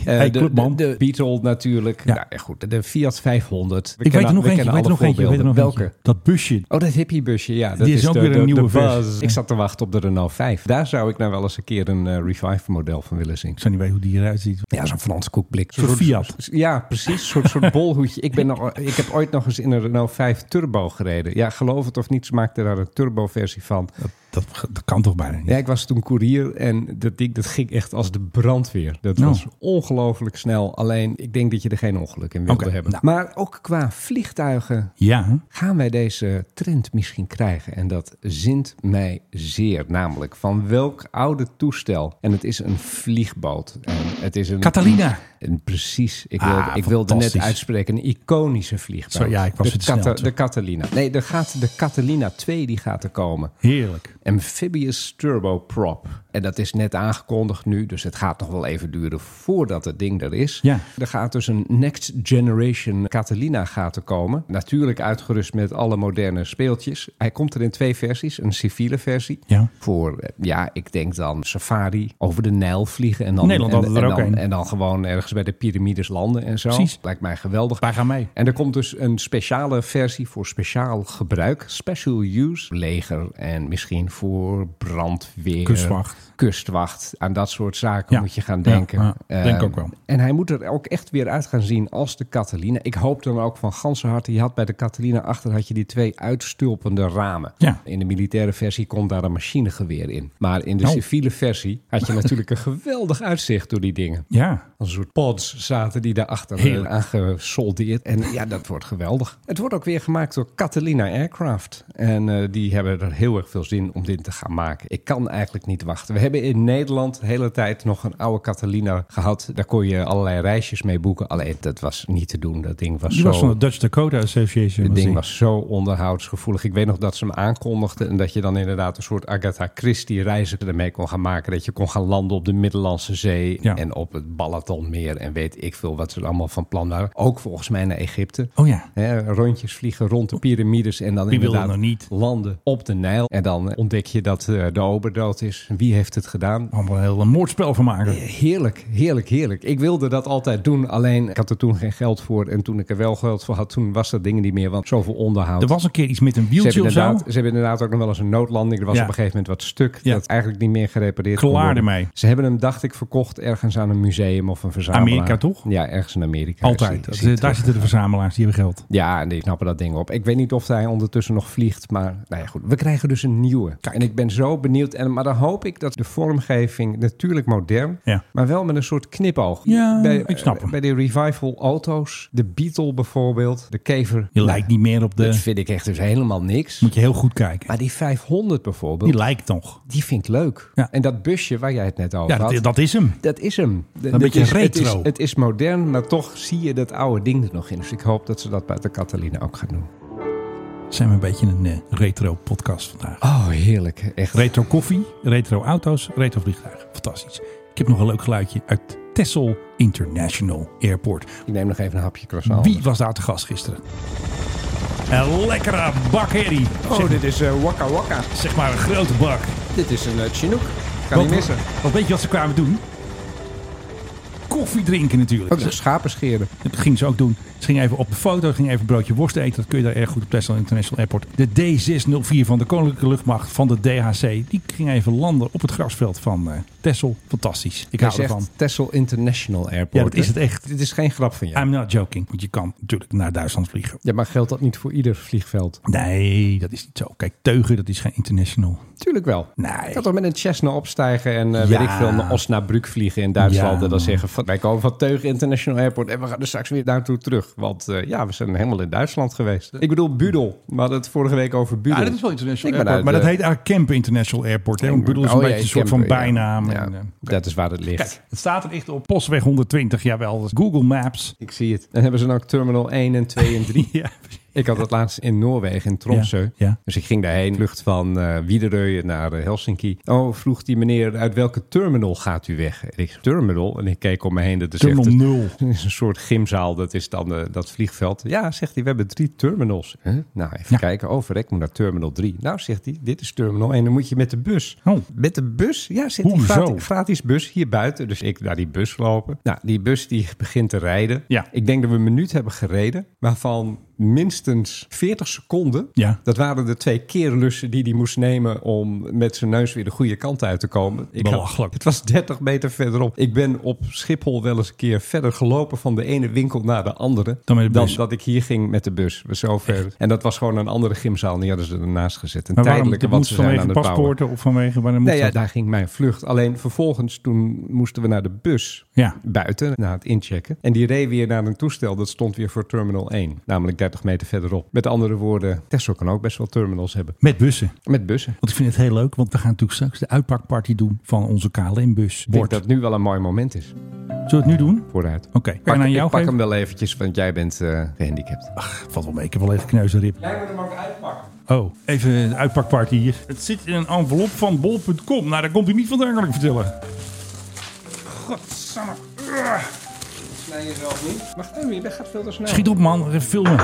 S6: Eh,
S5: Hey,
S6: de,
S5: Clubman.
S6: De, de Beetle natuurlijk.
S5: Ja.
S6: Nou, eh, goed, de Fiat 500. We
S5: Ik weet er
S6: kennen-
S5: nog
S6: we
S5: eentje, ik
S6: kennen alle
S5: weet er nog eentje, ik weet er nog
S6: voorbeelden.
S5: eentje. Dat busje.
S6: Oh, dat hippiebusje, ja. Dat
S5: Die is ook
S6: de,
S5: weer een
S6: de-
S5: nieuwe
S6: de
S5: versie.
S6: Buzz. Ik zat te wachten op de Renault 5. Daar zou ik nou wel eens een keer een eh, revive-model van willen zien.
S5: Ik zou niet weten hoe die eruit ziet.
S6: Ja, zo'n Frans koekblik.
S5: Zo'n Fiat.
S6: Ja, precies. Een soort, soort bolhoedje. Ik, ben nog, ik heb ooit nog eens in een Renault 5 Turbo gereden. Ja, geloof het of niet, ze maakten daar een Turbo-versie van.
S5: Dat, dat kan toch bijna niet?
S6: Ja, ik was toen koerier en dat ding dat ging echt als de brandweer. Dat
S5: Oh.
S6: was ongelooflijk snel. Alleen, ik denk dat je er geen ongeluk in wilde
S5: Oké,
S6: hebben.
S5: nou.
S6: Maar ook qua vliegtuigen
S5: Ja, hè?
S6: gaan wij deze trend misschien krijgen? En dat zint mij zeer. Namelijk van welk oude toestel? En het is een vliegboot. En het is een.
S5: Catalina.
S6: Een- precies. Ik
S5: Ah,
S6: wilde, ik wilde net
S5: fantastisch.
S6: uitspreken. Een iconische vliegboot.
S5: Zo, ja, ik was
S6: de,
S5: weer te snel,
S6: Cata-
S5: toch?
S6: de Catalina. Nee, er gaat, de Catalina 2 die gaat er komen.
S5: heerlijk.
S6: Amphibious Turboprop. En dat is net aangekondigd nu, dus het gaat nog wel even duren voordat het ding er is.
S5: Ja.
S6: Er gaat dus een next generation Catalina gaat er komen. Natuurlijk uitgerust met alle moderne speeltjes. Hij komt er in twee versies. Een civiele versie
S5: Ja.
S6: voor, eh, ja, ik denk dan safari over de Nijl vliegen. En dan,
S5: Nederland
S6: en,
S5: had er
S6: en
S5: ook
S6: dan,
S5: een.
S6: en dan gewoon ergens bij de piramides landen en zo.
S5: Precies.
S6: Lijkt mij geweldig.
S5: Wij gaan mee.
S6: En er komt dus een speciale versie voor speciaal gebruik, special use, leger en misschien voor brandweer,
S5: Kustwacht.
S6: kustwacht. Aan dat soort zaken
S5: Ja.
S6: moet je gaan
S5: Ja,
S6: denken.
S5: ja,
S6: Eh,
S5: denk ook wel.
S6: En hij moet er ook echt weer uit gaan zien als de Catalina. Ik hoop dan ook van ganse harte. Je had bij de Catalina achter had je die twee uitstulpende ramen.
S5: Ja.
S6: In de militaire versie kon daar een machinegeweer in. Maar in de
S5: Oh.
S6: civiele versie had je natuurlijk een geweldig uitzicht door die dingen.
S5: Ja,
S6: Als een soort pods zaten die daarachter eh,
S5: Heerlijk.
S6: aangesoldeerd. En ja, dat wordt geweldig. Het wordt ook weer gemaakt door Catalina Aircraft. En eh, die hebben er heel erg veel zin om dit te gaan maken. Ik kan eigenlijk niet wachten. We hebben in Nederland de hele tijd nog een oude Catalina gehad. Daar kon je allerlei reisjes mee boeken. Alleen dat was niet te doen. Dat ding was
S5: die
S6: zo...
S5: was van de Dutch Dakota Association.
S6: Het
S5: was
S6: ding
S5: die.
S6: was zo onderhoudsgevoelig. Ik weet nog dat ze hem aankondigden. En dat je dan inderdaad een soort Agatha Christie reizen ermee kon gaan maken. Dat je kon gaan landen op de Middellandse Zee.
S5: Ja.
S6: En op het Balatonmeer. En weet ik veel wat ze er allemaal van plan waren. Ook volgens mij naar Egypte.
S5: Oh ja.
S6: Hè, rondjes vliegen rond de piramides. En dan
S5: Wie wil dat
S6: inderdaad
S5: nou niet?
S6: landen op de Nijl. En dan ontdek je dat eh, de ober dood is. Wie heeft het gedaan?
S5: Allemaal een heel moordspel van maken.
S6: Heerlijk, heerlijk, heerlijk. Ik wilde dat altijd doen, alleen ik had er toen geen geld voor. En toen ik er wel geld voor had, toen was dat dingen niet meer, want zoveel onderhoud.
S5: Er was een keer iets met een
S6: Ze
S5: wieltje
S6: hebben,
S5: of zo.
S6: inderdaad, ze hebben inderdaad ook nog wel eens een noodlanding. Er was
S5: Ja.
S6: op een gegeven moment wat stuk
S5: Ja.
S6: dat eigenlijk niet meer gerepareerd kon
S5: Klaar
S6: worden.
S5: ermee.
S6: Ze hebben hem, dacht ik, verkocht ergens aan een museum of een verzamelaar.
S5: Amerika, toch?
S6: Ja, ergens in Amerika.
S5: Altijd.
S6: Is
S5: Dat-
S6: hij- is
S5: eh,
S6: hij
S5: daar
S6: terug.
S5: zitten de verzamelaars, die hebben geld.
S6: Ja, en die knappen dat ding op. Ik weet niet of hij ondertussen nog vliegt, maar nou ja, goed. We krijgen dus een nieuwe. En ik ben zo benieuwd. En, maar dan hoop ik dat de vormgeving, natuurlijk modern,
S5: Ja.
S6: maar wel met een soort knipoog.
S5: Ja, ik snap hem.
S6: Bij de revival auto's, de Beetle bijvoorbeeld, de Kever. Nou,
S5: Je lijkt niet meer op
S6: Dat
S5: de...
S6: vind ik echt dus helemaal niks.
S5: Moet je heel goed kijken.
S6: Maar die 500 bijvoorbeeld,
S5: Die
S6: die,
S5: lijkt nog.
S6: vind ik leuk.
S5: Ja.
S6: En dat busje waar jij het net over
S5: Ja,
S6: had.
S5: dat, dat is hem.
S6: Dat is hem. D-
S5: Een
S6: dit
S5: beetje
S6: is, Het is,
S5: retro.
S6: het is modern, maar toch zie je dat oude ding er nog in. Dus ik hoop dat ze dat bij de Catalina ook gaan doen.
S5: Zijn we een beetje een eh, retro podcast vandaag.
S6: Oh, heerlijk. Echt.
S5: Retro koffie, retro auto's, retro vliegtuigen. Fantastisch. Ik heb nog een leuk geluidje uit Texel International Airport.
S6: Ik neem nog even een hapje croissant.
S5: Wie was daar te gast gisteren? Een lekkere bak herrie.
S6: Oh,
S5: Zeg,
S6: dit is eh, Waka Waka.
S5: zeg maar een grote bak.
S6: Dit is een eh, Chinook. Kan niet missen.
S5: Want weet je wat ze kwamen doen? Koffie drinken natuurlijk.
S6: Ook nog schapen scheren.
S5: Dat gingen ze ook doen. Ze gingen even op de foto, gingen even een broodje worst eten. Dat kun je daar erg goed op Texel International Airport. De D604 van de Koninklijke Luchtmacht van de DHC. Die ging even landen op het grasveld van eh Texel. Fantastisch.
S6: Hij
S5: Ik hou
S6: zegt
S5: ervan.
S6: Texel International Airport.
S5: Ja, dat is
S6: hè?
S5: het echt.
S6: Dit is geen grap van jou.
S5: I'm not joking. Want je kan natuurlijk naar Duitsland vliegen.
S6: Ja, maar geldt dat niet voor ieder vliegveld?
S5: Nee, dat is niet zo. Kijk, Teugen, dat is geen international.
S6: Tuurlijk wel.
S5: Nee.
S6: Ik kan toch met een Cessna opstijgen en eh,
S5: Ja.
S6: weet ik veel naar Osnabrück vliegen in Duitsland.
S5: Ja.
S6: En dan zeggen van, wij komen van Teug International Airport en we gaan er straks weer naartoe terug. Want eh, ja, we zijn helemaal in Duitsland geweest. Ik bedoel Budel. We hadden het vorige week over Budel.
S10: Ja, Ah, dat is wel international
S6: Ik ben
S10: airport.
S5: Maar dat
S6: de-
S5: heet eigenlijk Camp International Airport. Hè? Want Budel is een
S6: Oh, ja,
S5: beetje een soort
S6: Kempen,
S5: van
S6: ja.
S5: bijnaam.
S6: Ja,
S5: En, eh,
S6: Dat is waar het ligt.
S5: kijk, het staat er echt op. Postweg 120, jawel. Dat is Google Maps.
S6: Ik zie het. En hebben ze dan ook nou Terminal 1 en 2 en 3?
S5: Ja, precies.
S6: Ik had dat laatst in Noorwegen, in Tromsø.
S5: Ja, ja.
S6: Dus ik ging daarheen, vlucht van eh Widerøe naar eh, Helsinki. Oh, vroeg die meneer, uit welke terminal gaat u weg? En ik zei, terminal? En ik keek om me heen. Dat is echt
S5: Terminal
S6: een-
S5: nul.
S6: dat is een soort gymzaal, dat is dan eh, dat vliegveld. Ja, zegt hij, we hebben drie terminals. Huh? Nou, even
S5: Ja.
S6: kijken. Oh, verrek, moet naar terminal 3. Nou, zegt hij, dit is terminal 1. Dan moet je met de bus.
S5: Oh.
S6: Met de bus? Ja, zegt hij,
S5: Hoezo?
S6: gratis, gratis bus hier buiten. Dus ik naar die bus lopen. Nou, die bus die begint te rijden.
S5: Ja.
S6: Ik denk dat we een minuut hebben gereden, waarvan minstens 40 seconden.
S5: Ja.
S6: Dat waren de twee keerlussen die hij moest nemen om met zijn neus weer de goede kant uit te komen. Ik had-
S5: Belachelijk.
S6: het was 30 meter verderop. Ik ben op Schiphol wel eens een keer verder gelopen van de ene winkel naar de andere.
S5: Dan met de bus.
S6: dat ik hier ging met de bus. We Zo ver. En dat was gewoon een andere gymzaal. en Die hadden ze ernaast gezet. Een
S5: Maar waarom?
S6: tijdelijke,
S5: Dat
S6: want
S5: moet
S6: ze zijn aan
S5: vanwege
S6: het bouwen.
S5: paspoorten of vanwege... Wanneer moet
S6: Nee, ja,
S5: dat?
S6: daar ging mijn vlucht. Alleen vervolgens toen moesten we naar de bus
S5: Ja.
S6: buiten, na het inchecken. En die reed weer naar een toestel dat stond weer voor terminal 1. Namelijk 30 meter verderop. Met andere woorden, Tesla kan ook best wel terminals hebben.
S5: Met bussen.
S6: Met bussen.
S5: Want ik vind het heel leuk, want we gaan natuurlijk straks de uitpakparty doen van onze KLM-bus.
S6: Ik denk
S5: Bord.
S6: dat het nu wel een mooi moment is.
S5: Zullen we het nu doen?
S6: Vooruit.
S5: Oké, kan
S6: Pak,
S5: je aan
S6: ik
S5: jou
S6: pak
S5: geven?
S6: hem wel eventjes, want jij bent eh, gehandicapt.
S5: Valt wel mee, ik heb wel even kneuzenrib.
S6: Jij moet hem ook uitpakken.
S5: Oh, even een uitpakparty hier. Het zit in een envelop van bol.com. Nou, daar komt hij niet vandaan, kan ik vertellen. Godsamme. Ugh.
S6: Snij jezelf niet. Wacht even, je bent- gaat veel te snel.
S5: Schiet op, man. Even filmen. Hé,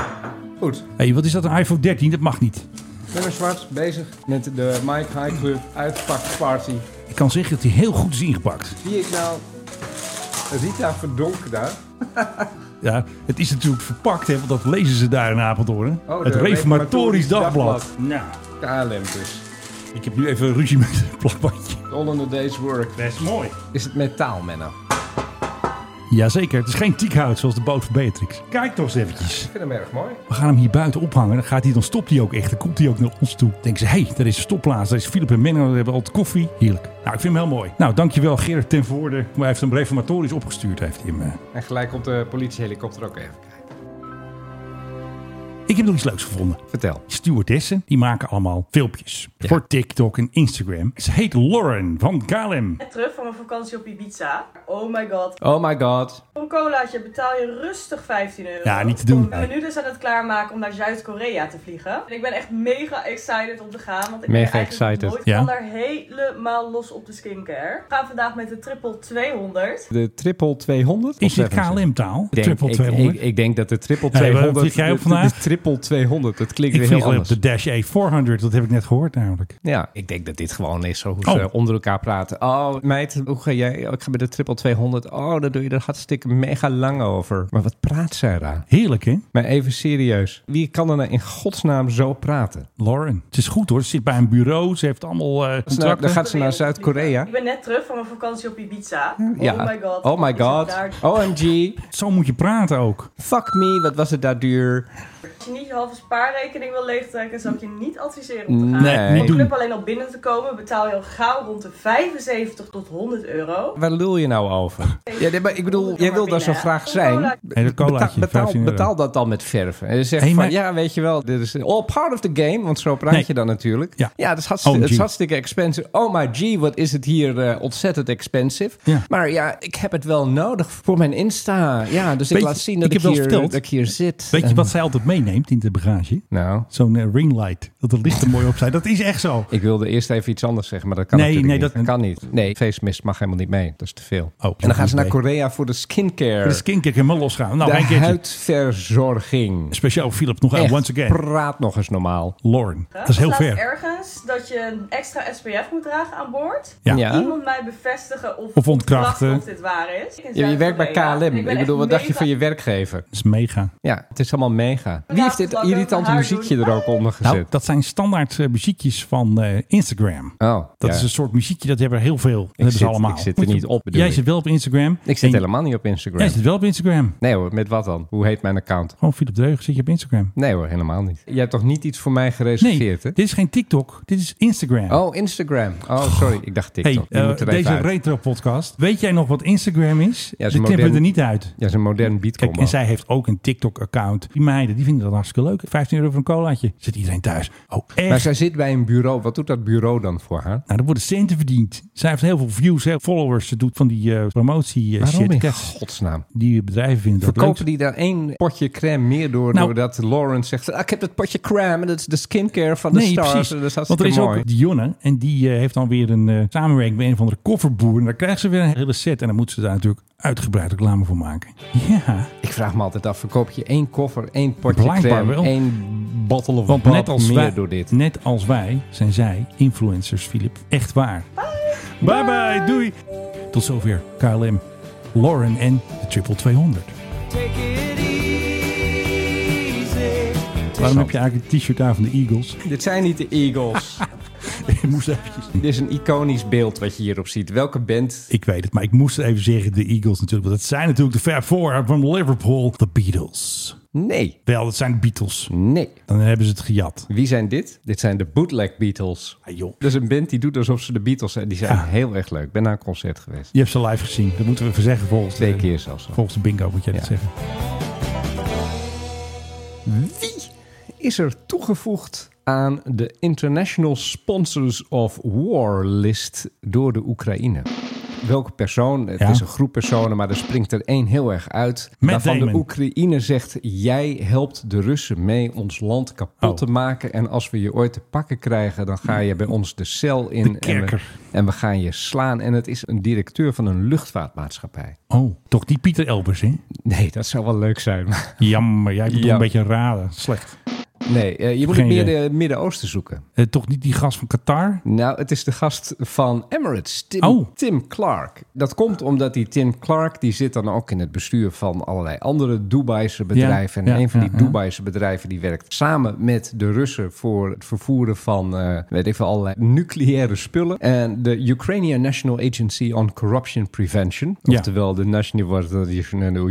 S6: Goed.
S5: hey, wat is dat? Een iPhone 13? Dat mag niet.
S6: Nummer zwart, bezig met de Mike High Club uitpakparty.
S5: Ik kan zeggen dat hij heel goed is ingepakt.
S6: Zie ik nou Rita verdonken daar?
S5: Ja, het is natuurlijk verpakt, hè, want dat lezen ze daar in Apeldoorn. hè?
S6: Oh, de
S5: het Reformatorisch
S6: Reformatorisch
S5: Dagblad.
S6: Dagblad.
S5: Nou,
S6: KLM dus.
S5: ik heb nu even ruzie met het plakbandje.
S6: All in the day's work.
S5: Best mooi.
S6: Is het metaal, Menno?
S5: Jazeker, het is geen tiekhout zoals de boot van Beatrix. Kijk toch eens eventjes.
S6: Ik vind hem erg mooi.
S5: We gaan hem hier buiten ophangen. Dan, gaat hij, dan stopt hij ook echt. Dan komt hij ook naar ons toe. Denken ze, hé, hey, daar is een stopplaats. Daar is Philip en Menno. We hebben al koffie. Heerlijk. Nou, ik vind hem heel mooi. Nou, dankjewel Gerard ten Voorde. Maar hij heeft hem reformatorisch opgestuurd. Heeft hij hem, eh.
S6: En gelijk op de politiehelikopter ook even kijken.
S5: Ik heb nog iets leuks gevonden.
S6: Vertel.
S5: Stewardessen, die maken allemaal filmpjes. Voor TikTok en Instagram. Ze heet Lauren van KLM.
S2: Net terug van mijn vakantie op Ibiza. Oh my god.
S6: Oh my god.
S2: Voor een colaatje betaal je rustig 15 euro.
S5: Ja, niet te doen.
S2: Ik ben nu dus aan het klaarmaken om naar Zuid-Korea te vliegen. En ik ben echt mega excited om te gaan. Want ik ben
S6: Mega
S2: eigenlijk
S6: excited.
S2: nooit
S5: Ja.
S2: van daar helemaal los op de skincare. We gaan vandaag met de triple 200.
S6: De triple 200?
S5: Is dit KLM-taal? De triple 200?
S6: Ik,
S5: Ik,
S6: denk dat de triple
S5: Hey, waar
S6: 200...
S5: vlieg jij op
S6: de- de-
S5: vandaag?
S6: De triple 200, dat klinkt weer heel
S5: vlieg wel op
S6: anders.
S5: de Dash A400. Dat heb ik net gehoord namelijk.
S6: Ja, ik denk dat dit gewoon is zo hoe
S5: Oh.
S6: ze onder elkaar praten. Oh, meid, hoe ga jij? Oh, ik ga bij de triple 200. Oh, daar doe je er hartstikke mega lang over. Maar wat praat zij daar?
S5: Heerlijk, hè?
S6: Maar even serieus. Wie kan er nou in godsnaam zo praten?
S5: Lauren. Het is goed hoor. Ze zit bij een bureau. Ze heeft allemaal eh,
S6: Nou,
S5: contracten.
S6: dan gaat ze naar Zuid-Korea.
S2: Ik ben net terug van mijn vakantie op Ibiza.
S6: Ja.
S2: Oh my god.
S6: Oh my
S2: Wat is het
S6: god.
S2: daar-
S6: OMG.
S5: Zo moet je praten ook.
S6: Fuck me, wat was het daar duur?
S2: Als je niet je halve spaarrekening wil leegtrekken, zou ik je niet adviseren om te gaan.
S6: Nee,
S5: niet
S2: Om
S5: doen.
S2: club alleen al binnen te komen, betaal je al gauw rond de 75 tot 100 euro.
S6: Waar lul je nou over? Ja, nee, maar ik bedoel, jij wil daar zo graag zijn.
S5: Hey, dat colaatje,
S6: betaal,
S5: 15 euro.
S6: betaal dat dan met verven. En je zegt
S5: Hey,
S6: van,
S5: maar-
S6: ja, weet je wel, dit is all part of the game. Want zo praat
S5: Nee.
S6: je dan natuurlijk.
S5: Ja.
S6: dat is hartstikke, het
S5: OMG.
S6: is hartstikke expensive. Oh my g, wat is het hier eh, ontzettend expensive.
S5: Ja.
S6: Maar ja, ik heb het wel nodig voor mijn Insta. Ja, dus ik
S5: Weet je,
S6: laat zien dat
S5: ik
S6: ik,
S5: heb wel
S6: hier,
S5: verteld.
S6: dat ik hier zit.
S5: Weet je
S6: En-
S5: wat zij altijd meeneemt in de bagage?
S6: Nou,
S5: Zo'n eh, ringlight. Dat het licht er mooi op zijn. Dat is echt zo.
S6: Ik wilde eerst even iets anders zeggen, maar dat kan
S5: Nee,
S6: natuurlijk
S5: nee,
S6: niet.
S5: dat-
S6: kan niet. Nee, feestmist mag helemaal niet mee. Dat is te veel.
S5: dat
S6: en dan gaan
S5: moet
S6: ze naar
S5: mee.
S6: Korea voor de skincare.
S5: De skincare helemaal losgaan. Nou, een
S6: de
S5: keertje.
S6: huidverzorging.
S5: Speciaal voor Philip nog aan.
S6: Echt,
S5: Once again.
S6: praat nog eens normaal.
S5: Lauren. Dat is heel
S2: Er staat
S5: ver.
S2: ergens dat je een extra SPF moet dragen aan boord.
S5: Ja.
S6: Ja.
S2: Iemand mij bevestigen of,
S5: Of ontkrachten.
S2: of dit waar is. Ik in
S6: Ja, je werkt bij
S2: Zuid-Korea.
S6: KLM. Ik,
S2: ben
S6: bedoel,
S2: echt
S6: wat dacht je
S2: mega-
S6: van je werkgever?
S5: Dat is mega.
S6: Ja, het is allemaal mega. Wie heeft dit
S2: plakken,
S6: irritante
S2: haar
S6: muziekje
S2: doen.
S6: er ook onder
S5: Nou,
S6: gezet?
S5: dat zijn standaard eh, muziekjes van eh, Instagram.
S6: Oh,
S5: Dat
S6: ja.
S5: is dus een soort muziekje, dat hebben er heel veel. Dat hebben ze
S6: zit-
S5: allemaal.
S6: ik zit er niet op, bedoel
S5: Jij
S6: ik.
S5: zit wel op Instagram.
S6: Ik zit
S5: En-
S6: helemaal niet op
S5: Jij
S6: Instagram.
S5: zit wel op Instagram.
S6: Nee hoor, met wat dan? Hoe heet mijn account?
S5: Gewoon Philip Dreugen zit je op Instagram.
S6: Nee hoor, helemaal niet. Je hebt toch niet iets voor mij
S5: Nee,
S6: gereserveerd,
S5: dit is geen TikTok. Dit is Instagram.
S6: hè? Dus Oh, Instagram. Oh, sorry. Ik dacht
S5: Hey,
S6: TikTok. Die
S5: eh,
S6: moet er even
S5: deze
S6: uit.
S5: retro-podcast. Weet jij nog wat Instagram is?
S6: een
S5: Die knippen we
S6: modern-
S5: er niet uit.
S6: Ja, zo'n modern beatcombo.
S5: Kijk, en zij heeft ook een TikTok-account. Die meiden, die vinden dat dan hartstikke leuk. 15 euro voor een colaatje. Zit iedereen thuis. Oh, echt?
S6: Maar zij zit bij een bureau. Wat doet dat bureau dan voor haar?
S5: Nou, er worden centen verdiend. Zij heeft heel veel views, heel veel followers. Ze doet van die eh, promotie eh,
S6: Waarom
S5: shit.
S6: in
S5: Kijk,
S6: godsnaam?
S5: Die bedrijven vinden dat
S6: Verkopen
S5: leuk.
S6: die daar één potje crème meer door,
S5: Nou.
S6: doordat Lawrence zegt... "Ah, ik heb dat potje crème en dat is de skincare van de
S5: nee,
S6: stars.
S5: precies.
S6: En dat is
S5: Want er
S6: hartstikke
S5: is
S6: mooi.
S5: ook Dionne. En die eh, heeft dan weer een eh, samenwerking met een van de kofferboeren. En daar krijgt ze weer een hele set. En dan moet ze daar natuurlijk uitgebreid reclame voor maken. Ja,
S6: Ik vraag me altijd af, verkoop je één koffer, één potje
S5: Blijkbaar
S6: crème,
S5: wel.
S6: één bottle of
S5: want
S6: wat
S5: net als,
S6: meer
S5: wij,
S6: door dit?
S5: net als wij zijn zij influencers, Filip. Echt waar. Bye. Bye bye, doei. Tot zover KLM, Lauren en de Triple 200. Waarom heb je eigenlijk een t-shirt aan van de Eagles?
S6: Dit zijn niet de Eagles.
S5: ik moest eventjes...
S6: dit is een iconisch beeld wat je hierop ziet. Welke band?
S5: Ik weet het, maar ik moest even zeggen de Eagles natuurlijk. Want dat zijn natuurlijk de Fab Four van Liverpool. De Beatles.
S6: Nee,
S5: Wel, dat zijn de Beatles.
S6: nee.
S5: Dan hebben ze het gejat.
S6: Wie zijn dit? Dit zijn de Bootleg Beatles.
S5: Ah, joh. Ah.
S6: Dat is een band die doet alsof ze de Beatles zijn. Die zijn heel erg leuk. Ik ben naar een concert geweest.
S5: Je hebt ze live gezien. Dat moeten we even zeggen volgens
S6: Twee
S5: de,
S6: keer zelfs. al.
S5: Volgens de bingo moet jij dat
S6: Ja.
S5: zeggen.
S6: Wie is er toegevoegd aan de International Sponsors of War list door de Oekraïne? Welke persoon? Het
S5: Ja.
S6: is een groep personen, maar er springt er één heel erg uit.
S5: Matt
S6: waarvan de
S5: Damon.
S6: Oekraïne zegt: Jij helpt de Russen mee ons land kapot
S5: Oh.
S6: te maken. En als we je ooit te pakken krijgen, dan ga je bij ons de cel in. en, we,
S5: kerker.
S6: en we gaan je slaan. En het is een directeur van een luchtvaartmaatschappij.
S5: Oh, toch niet Pieter Elbers, hè?
S6: Nee, dat zou wel leuk zijn. maar
S5: Jammer, jij moet
S6: Ja.
S5: een beetje raden. Slecht.
S6: Nee, eh, je moet het
S5: Geen
S6: meer
S5: idee.
S6: de Midden-Oosten zoeken.
S5: Eh, toch niet die gast van Qatar?
S6: Nou, het is de gast van Emirates, Tim,
S5: Oh.
S6: Tim Clark. Dat komt omdat die Tim Clark, die zit dan ook in het bestuur van allerlei andere Dubaise bedrijven.
S5: ja,
S6: en een van
S5: ja,
S6: die
S5: ja.
S6: Dubaise bedrijven die werkt samen met de Russen voor het vervoeren van, eh, weet ik veel, allerlei nucleaire spullen. En de Ukrainian National Agency on Corruption Prevention,
S5: Ja.
S6: oftewel de National War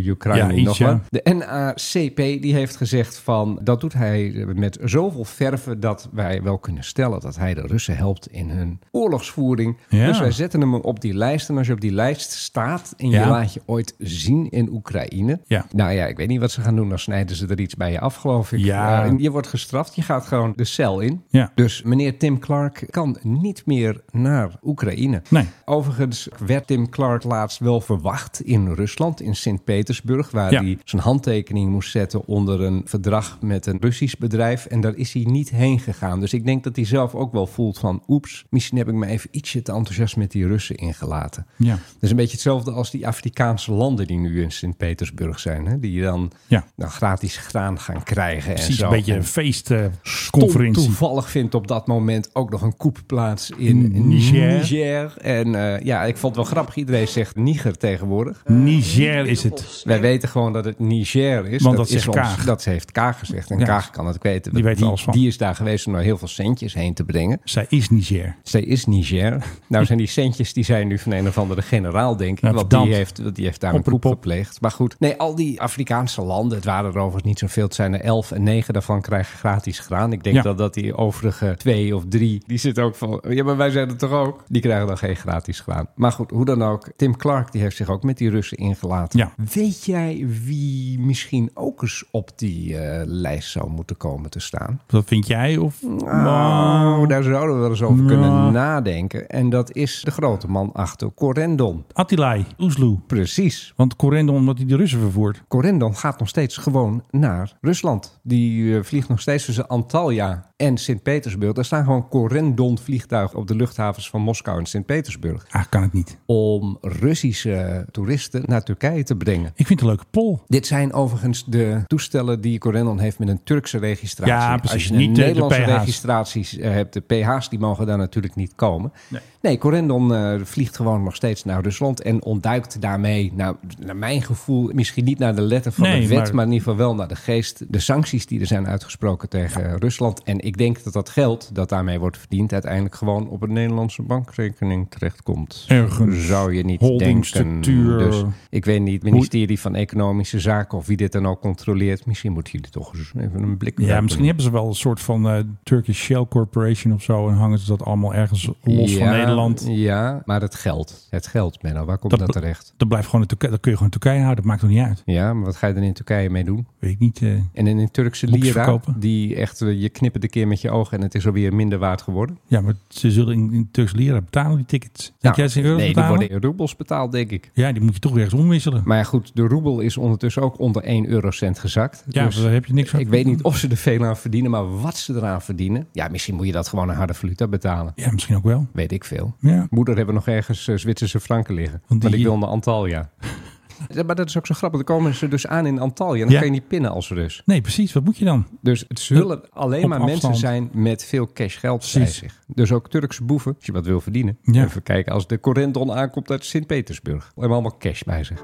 S6: Ukraine
S5: Ja,
S6: nog
S5: iets,
S6: maar.
S5: ja.
S6: De NACP die heeft gezegd van dat doet hij met zoveel verve dat wij wel kunnen stellen dat hij de Russen helpt in hun oorlogsvoering.
S5: Ja.
S6: Dus wij zetten hem op die lijst. En als je op die lijst staat en je
S5: Ja.
S6: laat je ooit zien in Oekraïne.
S5: Ja.
S6: Nou ja, ik weet niet wat ze gaan doen. Dan snijden ze er iets bij je af, geloof ik.
S5: Ja.
S6: Eh, je wordt gestraft. Je gaat gewoon de cel in.
S5: Ja.
S6: Dus meneer Tim Clark kan niet meer naar Oekraïne.
S5: Nee.
S6: Overigens werd Tim Clark laatst wel verwacht in Rusland, in Sint-Petersburg, waar
S5: Ja.
S6: hij zijn handtekening moest zetten onder een verdrag met een Russisch bedrijf. En daar is hij niet heen gegaan. Dus ik denk dat hij zelf ook wel voelt van, oeps, misschien heb ik me even ietsje te enthousiast met die Russen ingelaten.
S5: Ja.
S6: Dat is een beetje hetzelfde als die Afrikaanse landen die nu in Sint-Petersburg zijn, hè? die dan,
S5: Ja.
S6: dan gratis graan gaan krijgen.
S5: Precies,
S6: en zo.
S5: een beetje een eh,
S6: En
S5: feestconferentie.
S6: Toevallig vindt op dat moment ook nog een koep plaats in
S5: In Niger.
S6: Niger. En eh, ja, ik vond het wel grappig. Iedereen zegt Niger tegenwoordig.
S5: Niger is het.
S6: Wij weten gewoon dat het Niger is.
S5: Want dat zegt
S6: is ons-
S5: Kaag.
S6: Dat heeft Kaag gezegd. En
S5: Ja.
S6: Kaag kan het weten.
S5: Die weet
S6: die,
S5: er alles van.
S6: die is daar geweest om er heel veel centjes heen te brengen.
S5: Zij is Niger.
S6: Zij is Niger. Nou zijn die centjes die zijn nu van een of andere generaal, denk ik.
S5: Ja,
S6: want die
S5: verdampt.
S6: heeft, want die heeft daar
S5: Op
S6: een
S5: de
S6: koep
S5: pop.
S6: gepleegd. Maar goed, nee, al die Afrikaanse landen, het waren er overigens niet zoveel. Het zijn er elf en negen daarvan krijgen gratis graan. Ik denk
S5: Ja.
S6: dat, dat die overige twee of drie, die zitten ook van... Ja, maar wij zijn het toch ook? Die krijgen dan geen gratis graan. Maar goed, hoe dan ook. Tim Clark, die heeft zich ook met die Russen ingelaten.
S5: Ja.
S6: Weet jij wie misschien ook eens op die eh, lijst zou moeten komen te staan?
S5: Dat vind jij? Of...
S6: Nou, daar zouden we wel eens over kunnen nadenken. En dat is de grote man achter Corendon.
S5: Attilai, Oesloe.
S6: Precies.
S5: Want Corendon, omdat hij de Russen vervoert.
S6: Corendon gaat nog steeds gewoon naar Rusland. Die eh, vliegt nog steeds tussen Antalya en Sint-Petersburg. Daar staan gewoon Corendon-vliegtuigen op de luchthavens van Moskou en Sint-Petersburg.
S5: Ah, kan het niet.
S6: Om Russische toeristen naar Turkije te brengen.
S5: Ik vind het een leuke pol.
S6: Dit zijn overigens de toestellen die Corendon heeft met een Turkse registratie.
S5: Ja, precies.
S6: Als je
S5: Niet de-
S6: een
S5: de
S6: Nederlandse
S5: PH's.
S6: registraties eh, hebt, de PH's die mogen daar natuurlijk niet komen. Nee, Corendon eh, vliegt gewoon nog steeds naar Rusland en ontduikt daarmee, nou, naar mijn gevoel, misschien niet naar de letter van
S5: Nee,
S6: de wet, maar...
S5: maar-
S6: in ieder geval wel naar de geest, de sancties die er zijn uitgesproken tegen Rusland. En ik denk dat dat geld dat daarmee wordt verdiend... uiteindelijk gewoon op een Nederlandse bankrekening terechtkomt.
S5: Ergens.
S6: Zou je niet denken.
S5: Holdingstructuur.
S6: Dus ik weet niet, ministerie van Economische Zaken... of wie dit dan ook controleert. Misschien moeten jullie toch eens even een blik
S5: Ja,
S6: werpen.
S5: misschien hebben ze wel een soort van eh, Turkish Shell Corporation of zo. En hangen ze dat allemaal ergens los van
S6: Ja,
S5: Nederland.
S6: Ja, maar het geld. Het geld, Menno. Waar komt
S5: Dat
S6: dat,
S5: be-
S6: terecht?
S5: Dat, blijft gewoon in Turkije, dat kun je gewoon in Turkije houden. Dat maakt nog niet uit.
S6: Ja, maar wat ga je dan in Turkije mee doen?
S5: Weet ik niet. eh,
S6: En in een Turkse
S5: Boekjes
S6: lira,
S5: verkopen.
S6: die echt, eh, je knippert een keer met je ogen en het is alweer minder waard geworden.
S5: ja, maar ze zullen in, in Turks lira betalen, die tickets. Denk jij ze in euro's
S6: Nou, nee, die
S5: betalen?
S6: worden in roebels betaald, denk ik.
S5: Ja, die moet je toch ergens omwisselen.
S6: Maar ja, goed, de roebel is ondertussen ook onder 1 eurocent gezakt. Dus
S5: Ja, daar heb je niks aan.
S6: Ik weet niet of ze er veel aan verdienen, maar wat ze eraan verdienen. Ja, misschien moet je dat gewoon een harde valuta betalen.
S5: Ja, misschien ook wel.
S6: Weet ik veel.
S5: Ja.
S6: Moeder hebben nog ergens eh, Zwitserse franken liggen.
S5: Want
S6: Want,
S5: die-
S6: ik wil naar Antalya. Ja, maar dat is ook zo grappig. Dan komen ze dus aan in Antalya. en Dan
S5: Ja.
S6: kan je niet pinnen als Rus.
S5: Nee, precies. Wat moet je dan?
S6: Dus het zullen alleen
S5: Op
S6: maar mensen
S5: afstand.
S6: zijn met veel cash geld bij
S5: Precies.
S6: zich. Dus ook Turkse boeven, als je wat wil verdienen.
S5: Ja.
S6: Even kijken, als de Corendon aankomt uit Sint-Petersburg. Hebben allemaal cash bij zich.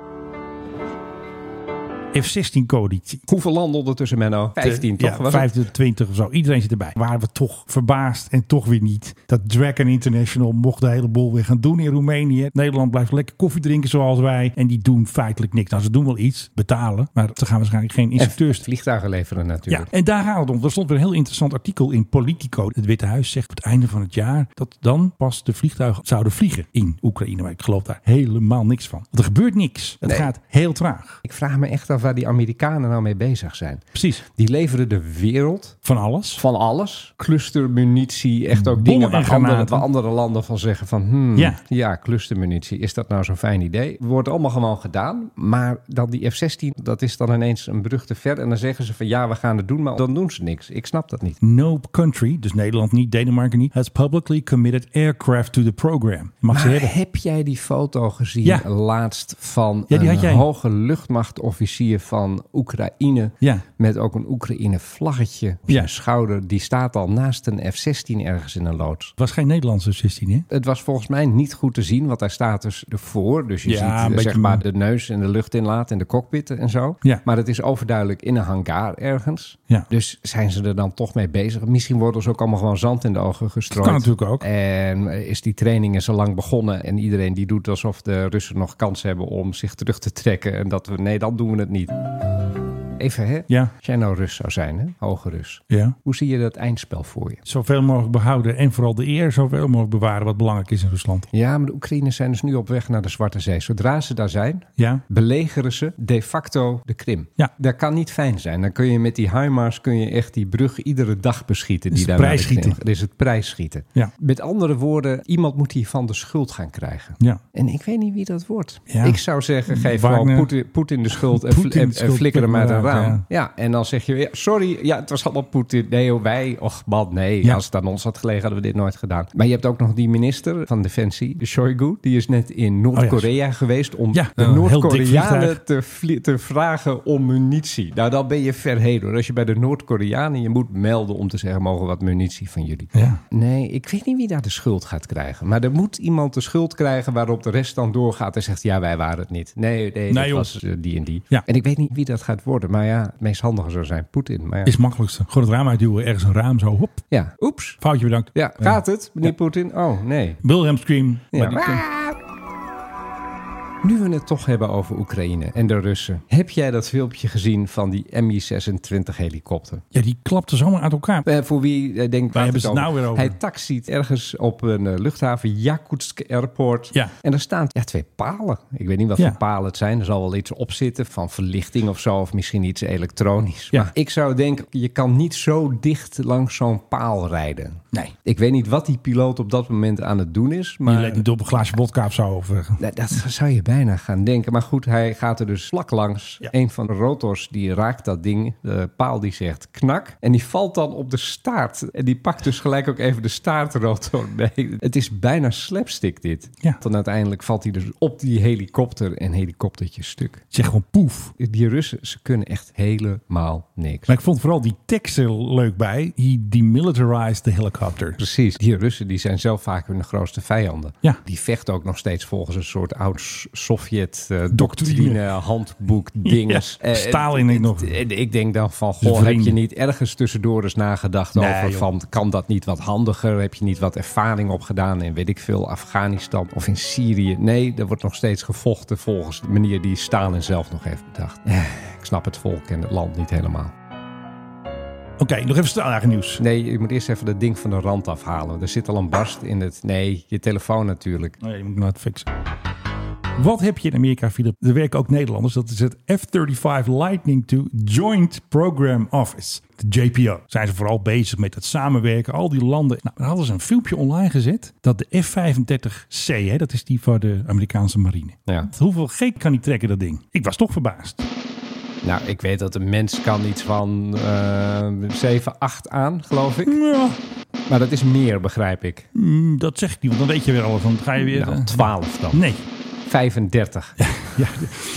S5: F-16 coditie.
S6: Hoeveel landen ondertussen, Menno? 15 toch?
S5: Ja,
S6: was het?
S5: 15, 20 of zo. Iedereen zit erbij. Waren we toch verbaasd en toch weer niet. Dat Dragon International mocht de hele boel weer gaan doen in Roemenië. Nederland blijft lekker koffie drinken zoals wij. En die doen feitelijk niks. Nou, ze doen wel iets. Betalen. Maar ze gaan waarschijnlijk geen instructeurs...
S6: En vliegtuigen leveren
S5: Ja,
S6: natuurlijk.
S5: en daar gaat het om. Er stond weer een heel interessant artikel in Politico. Het Witte Huis zegt op het einde van het jaar dat dan pas de vliegtuigen zouden vliegen in Oekraïne. Maar ik geloof daar helemaal niks van. Want er gebeurt niks. Het
S6: Nee.
S5: gaat heel traag.
S6: Ik vraag me echt af waar die Amerikanen nou mee bezig zijn.
S5: Precies.
S6: Die leveren de wereld
S5: Van alles.
S6: van alles. Clustermunitie, echt ook
S5: Bommen
S6: dingen
S5: en
S6: waar
S5: granaten.
S6: andere, waar andere landen van zeggen van... Hmm,
S5: Ja.
S6: ja. clustermunitie, is dat nou zo'n fijn idee? Wordt allemaal gewoon gedaan. Maar dan die F-16, dat is dan ineens een brug te ver. En dan zeggen ze van ja, we gaan het doen, maar dan doen ze niks. Ik snap dat niet.
S5: No country, dus Nederland niet, Denemarken niet, has publicly committed aircraft to the program. Mag ze
S6: Maar
S5: hebben.
S6: heb jij die foto gezien
S5: Ja.
S6: laatst van
S5: Ja, die had
S6: een
S5: jij.
S6: hoge luchtmachtofficier van Oekraïne...
S5: Ja.
S6: met ook een Oekraïne vlaggetje op
S5: Ja.
S6: zijn schouder? Die staat al naast een F-16 ergens in een loods.
S5: Was geen Nederlandse 16, hè?
S6: Het was volgens mij niet goed te zien, want daar staat dus ervoor. Dus je
S5: Ja, een
S6: ziet eh,
S5: beetje-
S6: zeg maar de neus en de luchtinlaat en de cockpit en zo.
S5: Ja.
S6: Maar dat is overduidelijk in een hangar ergens.
S5: Ja.
S6: Dus zijn ze er dan toch mee bezig? Misschien worden ze ook allemaal gewoon zand in de ogen gestrooid.
S5: Kan natuurlijk ook.
S6: En eh, is die training is al lang begonnen en iedereen die doet alsof de Russen nog kans hebben om zich terug te trekken. En dat we, nee, dan doen we het niet. Even hè,
S5: Ja.
S6: als jij nou Rus zou zijn, hè? hoge Rus.
S5: Ja.
S6: Hoe zie je dat eindspel voor je?
S5: Zoveel mogelijk behouden en vooral de eer zoveel mogelijk bewaren wat belangrijk is in Rusland.
S6: Ja, maar de Oekraïners zijn dus nu op weg naar de Zwarte Zee. Zodra ze daar zijn,
S5: Ja.
S6: belegeren ze de facto de Krim.
S5: Ja.
S6: Dat kan niet fijn zijn. Dan kun je met die HIMARS kun je echt die brug iedere dag beschieten.
S5: Is
S6: Die
S5: het
S6: daar naar de
S5: prijsschieten.
S6: Krim gaat. Dat is het prijsschieten.
S5: Ja.
S6: Met andere woorden, iemand moet hier van de schuld gaan krijgen.
S5: Ja.
S6: En ik weet niet wie dat wordt.
S5: Ja.
S6: Ik zou zeggen, geef
S5: Wagner.
S6: gewoon Poetin, Poetin de schuld en,
S5: Poetin de
S6: fl- en- en
S5: schuld,
S6: flikker hem uit een
S5: inderdaad,
S6: raam.
S5: ja.
S6: Ja. en dan zeg je, ja, sorry, ja, het was allemaal Poetin. Nee, oh, wij, och man, nee.
S5: Ja.
S6: Als het aan ons had gelegen, hadden we dit nooit gedaan. Maar je hebt ook nog die minister van Defensie, Shoigu. Die is net in Noord-Korea geweest om
S5: Oh, Ja, nou,
S6: de
S5: een heel dik vliegtuig.
S6: Noord-Koreanen te, vlie- te vragen om munitie. Nou, dan ben je ver heen hoor. Als je bij de Noord-Koreanen je moet melden om te zeggen, mogen we wat munitie van jullie?
S5: Ja.
S6: Nee, ik weet niet wie daar de schuld gaat krijgen. Maar er moet iemand de schuld krijgen waarop de rest dan doorgaat en zegt: Ja, wij waren het niet. Nee, nee,
S5: Nee,
S6: dat
S5: joh.
S6: was eh, die en die.
S5: Ja.
S6: En ik weet niet wie dat gaat worden. Maar ja, het meest handige zou zijn Poetin. Maar ja.
S5: Is het makkelijkste. Gewoon het raam uitduwen, ergens een raam zo, hop.
S6: ja, oeps.
S5: Foutje bedankt.
S6: Ja, gaat het, meneer Poetin? Oh, nee.
S5: Wilhelm Scream.
S6: Ja.
S5: Maar die-
S6: Nu we het toch hebben over Oekraïne en de Russen. Heb jij dat filmpje gezien van die Mi-26-helikopter?
S5: ja, die klapte zomaar uit elkaar.
S6: Eh, voor wie eh, denkt...
S5: Waar
S6: waar
S5: hebben ze het nou weer over?
S6: Hij taxiet ergens op een eh, luchthaven, Yakutsk Airport.
S5: Ja.
S6: En daar staan ja, twee palen. Ik weet niet wat
S5: Ja.
S6: voor palen het zijn. Er zal wel iets op zitten van verlichting of zo. Of misschien iets elektronisch.
S5: Ja.
S6: Maar ik zou denken, je kan niet zo dicht langs zo'n paal rijden.
S5: Nee.
S6: Ik weet niet wat die piloot op dat moment aan het doen is. Maar
S5: Je leed niet op een glaasje vodka of zo. Of, eh,
S6: nou, dat zou je bijna gaan denken. Maar goed, hij gaat er dus vlak langs.
S5: Ja.
S6: Een van de rotors die raakt dat ding. De paal die zegt knak. En die valt dan op de staart. En die pakt dus gelijk ook even de staartrotor mee. Het is bijna slapstick dit.
S5: Ja.
S6: Dan uiteindelijk valt hij dus op die helikopter. En helikoptertje stuk.
S5: zeg gewoon poef.
S6: Die Russen, ze kunnen echt helemaal niks.
S5: Maar ik vond vooral die tekst heel leuk bij. He demilitarized the helicopter.
S6: Precies, die Russen die zijn zelf vaak hun grootste vijanden.
S5: Ja.
S6: Die vechten ook nog steeds volgens een soort oud s- Sovjet-doctrine, handboek, dinges.
S5: Ja,
S6: Eh,
S5: Stalin
S6: eh,
S5: ik nog.
S6: eh, Ik denk dan van, goh, heb
S5: vrienden.
S6: je niet ergens tussendoor eens nagedacht
S5: Nee,
S6: over
S5: joh.
S6: van, kan dat niet wat handiger? Heb je niet wat ervaring opgedaan in, weet ik veel, Afghanistan of in Syrië? Nee, er wordt nog steeds gevochten volgens de manier die Stalin zelf nog heeft bedacht. Eh, Ik snap het volk en het land niet helemaal.
S5: Oké, nog even Straaljager nieuws.
S6: Nee, je moet eerst even dat ding van de rand afhalen. Er zit al een barst in het... Nee, je telefoon natuurlijk.
S5: Nee, die moet ik nog even fixen. Wat heb je in Amerika, Philip? Er werken ook Nederlanders. Dat is het F-35 Lightning II Joint Program Office. De JPO. Zijn ze vooral bezig met het samenwerken. Al die landen. Nou, daar hadden ze een filmpje online gezet. Dat de F-35C, hè, dat is die voor de Amerikaanse marine.
S6: Ja.
S5: Hoeveel geek kan die trekken, dat ding? Ik was toch verbaasd.
S6: Nou, ik weet dat een mens kan iets van eh 7, 8 aan, geloof ik.
S5: Ja,
S6: Maar dat is meer, begrijp ik.
S5: mm, dat zeg ik niet, want dan weet je weer alles. Want dan ga je weer...
S6: Nou,
S5: eh,
S6: 12 dan.
S5: nee,
S6: 35. Oké,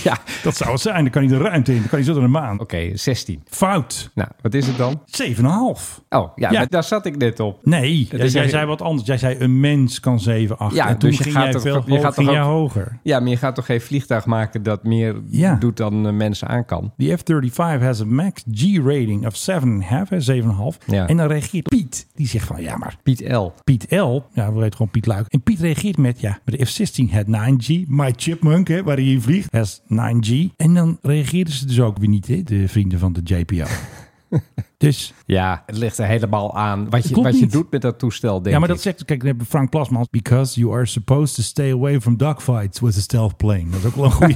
S5: ja, dat zou het zijn. Dan kan hij de ruimte in. Dan kan hij zo door een maan.
S6: 16.
S5: Fout.
S6: Nou, wat is het dan?
S5: 7,5.
S6: Oh, ja,
S5: Ja.
S6: maar daar zat ik net op.
S5: Nee, jij,
S6: is
S5: jij
S6: echt-
S5: zei wat anders. Jij zei een mens kan 7, 8.
S6: dus Ja,
S5: en toen
S6: dus je
S5: ging
S6: gaat
S5: jij
S6: toch-
S5: veel
S6: je
S5: hoger,
S6: gaat
S5: ging
S6: toch
S5: jij
S6: ook-
S5: hoger.
S6: Ja, maar je gaat toch geen vliegtuig maken dat meer
S5: Ja.
S6: doet dan eh, mensen aan kan?
S5: Die F-35 has a max G rating of 7,5. hè, 7,5.
S6: Ja.
S5: En dan reageert Piet. Die zegt van, ja maar
S6: Piet L.
S5: Piet L. Ja, we weten gewoon Piet Luik. En Piet reageert met, ja, maar de F-16 had 9G. My Chipmunk, hè, waar hij in vliegt, has 9G. En dan reageerden ze dus ook weer niet, hè, de vrienden van de JPO. dus
S6: Ja, het ligt er helemaal aan wat je,
S5: klopt
S6: wat je
S5: niet.
S6: doet met dat toestel, denk
S5: Ja, maar dat
S6: ik.
S5: zegt, kijk, dan hebben we Frank Plasmans. Because you are supposed to stay away from dogfights with a stealth plane. Dat is ook wel een goeie.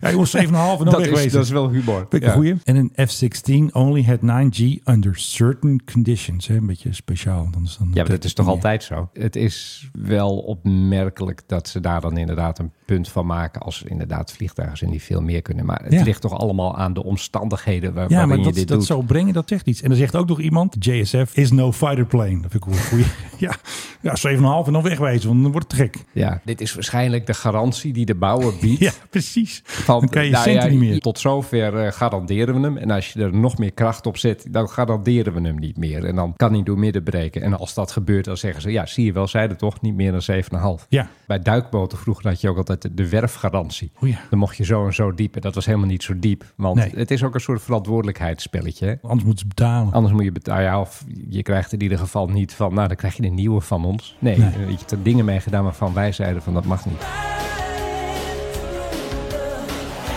S5: ja, jongens, 7,5 en dan
S6: dat, is,
S5: wegwezen.
S6: dat is wel humor.
S5: Vind ik
S6: Ja.
S5: een goeie. En een F-16 only had 9G under certain conditions. Hè? Een beetje speciaal. Dan is dan
S6: Ja, maar dat is toch
S5: Ja.
S6: altijd zo? Het is wel opmerkelijk dat ze daar dan inderdaad een punt van maken als er inderdaad vliegtuigen zijn die veel meer kunnen. Maar het
S5: Ja.
S6: ligt toch allemaal aan de omstandigheden waar,
S5: Ja,
S6: waarin
S5: maar
S6: je
S5: dat,
S6: dit
S5: dat
S6: doet.
S5: zo brengen, dat zegt iets. En dan zegt ook nog iemand, JSF is no fighter plane. Dat vind ik wel een goeie. ja, ja 7,5 en dan wegwezen, want dan wordt het gek.
S6: Ja, dit is waarschijnlijk de garantie die de bouwer biedt.
S5: Ja, precies.
S6: Van,
S5: dan kan je
S6: nou
S5: centen
S6: ja,
S5: niet meer.
S6: Tot zover eh, garanderen we hem. En als je er nog meer kracht op zet, dan garanderen we hem niet meer. En dan kan hij door midden breken. En als dat gebeurt, dan zeggen ze, ja, zie je wel, zeiden toch niet meer dan 7,5.
S5: Ja.
S6: Bij duikboten vroeger had je ook altijd de- de werfgarantie.
S5: O Oh ja.
S6: Dan mocht je zo en zo diep. En dat was helemaal niet zo diep. Want
S5: Nee.
S6: het is ook een soort verantwoordelijkheidsspelletje. hè?
S5: Anders moeten ze betalen.
S6: Anders moet je betalen. Ja, of je krijgt in ieder geval niet van, nou, dan krijg je een nieuwe van ons. Nee, eh, je hebt er dingen mee gedaan waarvan wij zeiden van, dat mag niet.
S10: Be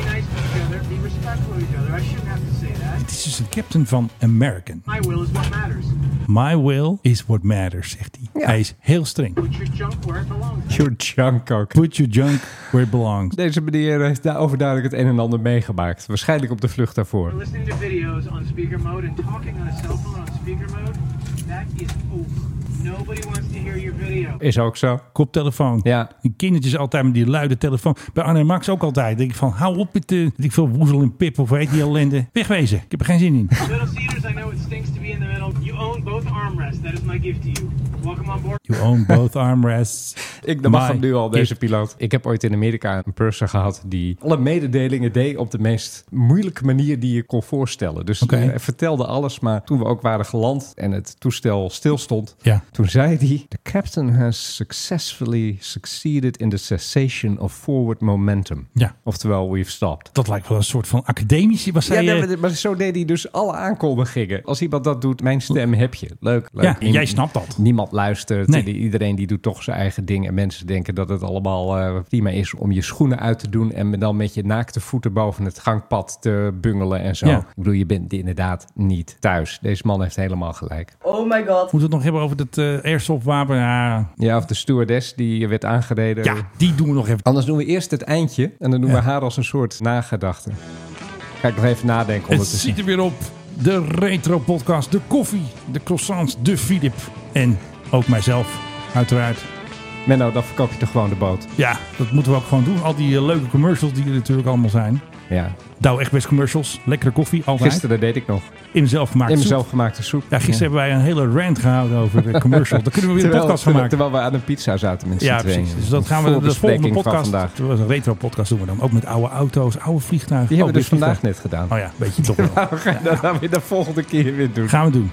S10: nice to each other, be respectful to each other. I shouldn't have to say that.
S5: Het is dus een captain van American.
S10: My will is what matters.
S5: My will is what matters, zegt hij. Hij is heel streng.
S10: Put your junk where it belongs.
S6: Your junk ook.
S5: Put your junk where it belongs.
S6: Deze meneer heeft daar overduidelijk het een en ander meegemaakt. Waarschijnlijk op de vlucht daarvoor.
S10: Listening to videos on speaker mode and talking on a cell phone on speaker mode, that is over. Nobody wants to hear your video.
S6: Is ook zo.
S5: Koptelefoon.
S6: Ja.
S5: Die kindertjes altijd met die luide telefoon. Bij Arne en Max ook altijd. Denk ik van, hou op met de, weet ik veel woezel en pip of weet die ellende. Wegwezen. Ik heb er geen zin in.
S10: Middle seaters, I know it stinks to be in the middle. You own both armrests. That is my gift to you. Welcome on board.
S5: You own both armrests.
S6: Ik de mag
S5: My
S6: hem nu al, deze
S5: gift.
S6: piloot. Ik heb ooit in Amerika een purser gehad die alle mededelingen deed op de meest moeilijke manier die je kon voorstellen. Dus
S5: Oké.
S6: hij vertelde alles, maar toen we ook waren geland en het toestel stilstond,
S5: Ja.
S6: toen zei hij: The captain has successfully succeeded in the cessation of forward momentum.
S5: Ja.
S6: Oftewel, we've stopped.
S5: Dat lijkt wel een soort van academische. Was
S6: Ja,
S5: hij,
S6: nee,
S5: eh,
S6: maar, maar zo deed hij dus alle aankondigingen. Als iemand dat doet, mijn stem heb je. Leuk, leuk.
S5: Ja, en
S6: Niem-
S5: jij snapt dat.
S6: Niemand luistert.
S5: Nee.
S6: Die- Iedereen die doet toch zijn eigen ding. En mensen denken dat het allemaal eh, prima is om je schoenen uit te doen... en dan met je naakte voeten boven het gangpad te bungelen en zo.
S5: Ja.
S6: Ik bedoel, je bent inderdaad niet thuis. Deze man heeft helemaal gelijk.
S2: Oh my god.
S5: Moeten we het nog hebben over dat eh airsoft wapen? Ja,
S6: Ja, of de stewardess die werd aangereden.
S5: ja, die doen we nog even.
S6: Anders doen we eerst het eindje en dan doen
S5: Ja.
S6: we haar als een soort nagedachte. Ga ik nog even nadenken om
S5: Het
S6: het te zien.
S5: ziet er weer op. De retro podcast, de koffie, de croissants, de Philip. En ook mijzelf, uiteraard.
S6: Menno, dan verkoop je toch gewoon de boot.
S5: Ja, dat moeten we ook gewoon doen. Al die eh, leuke commercials die er natuurlijk allemaal zijn.
S6: Ja,
S5: Douwe Egberts commercials, lekkere koffie, altijd.
S6: gisteren deed ik nog.
S5: in zelfgemaakt
S6: In
S5: soep.
S6: mezelf gemaakte soep.
S5: Ja, gisteren hebben wij een hele rant gehouden over de commercial. Daar kunnen we weer een podcast van maken.
S6: Terwijl we aan een pizza zaten met z'n
S5: Ja,
S6: tweeën.
S5: precies. Dus dat gaan we de volgende
S6: Voorbespreking van
S5: podcast.
S6: vandaag.
S5: Dat was een retro podcast doen we dan. Ook met oude auto's, oude vliegtuigen.
S6: Die hebben we dus
S5: weer
S6: vandaag
S5: vliegtuigen.
S6: net gedaan.
S5: Oh ja, weet je toch wel.
S6: We gaan dat dan weer de volgende keer weer doen.
S5: Gaan we doen.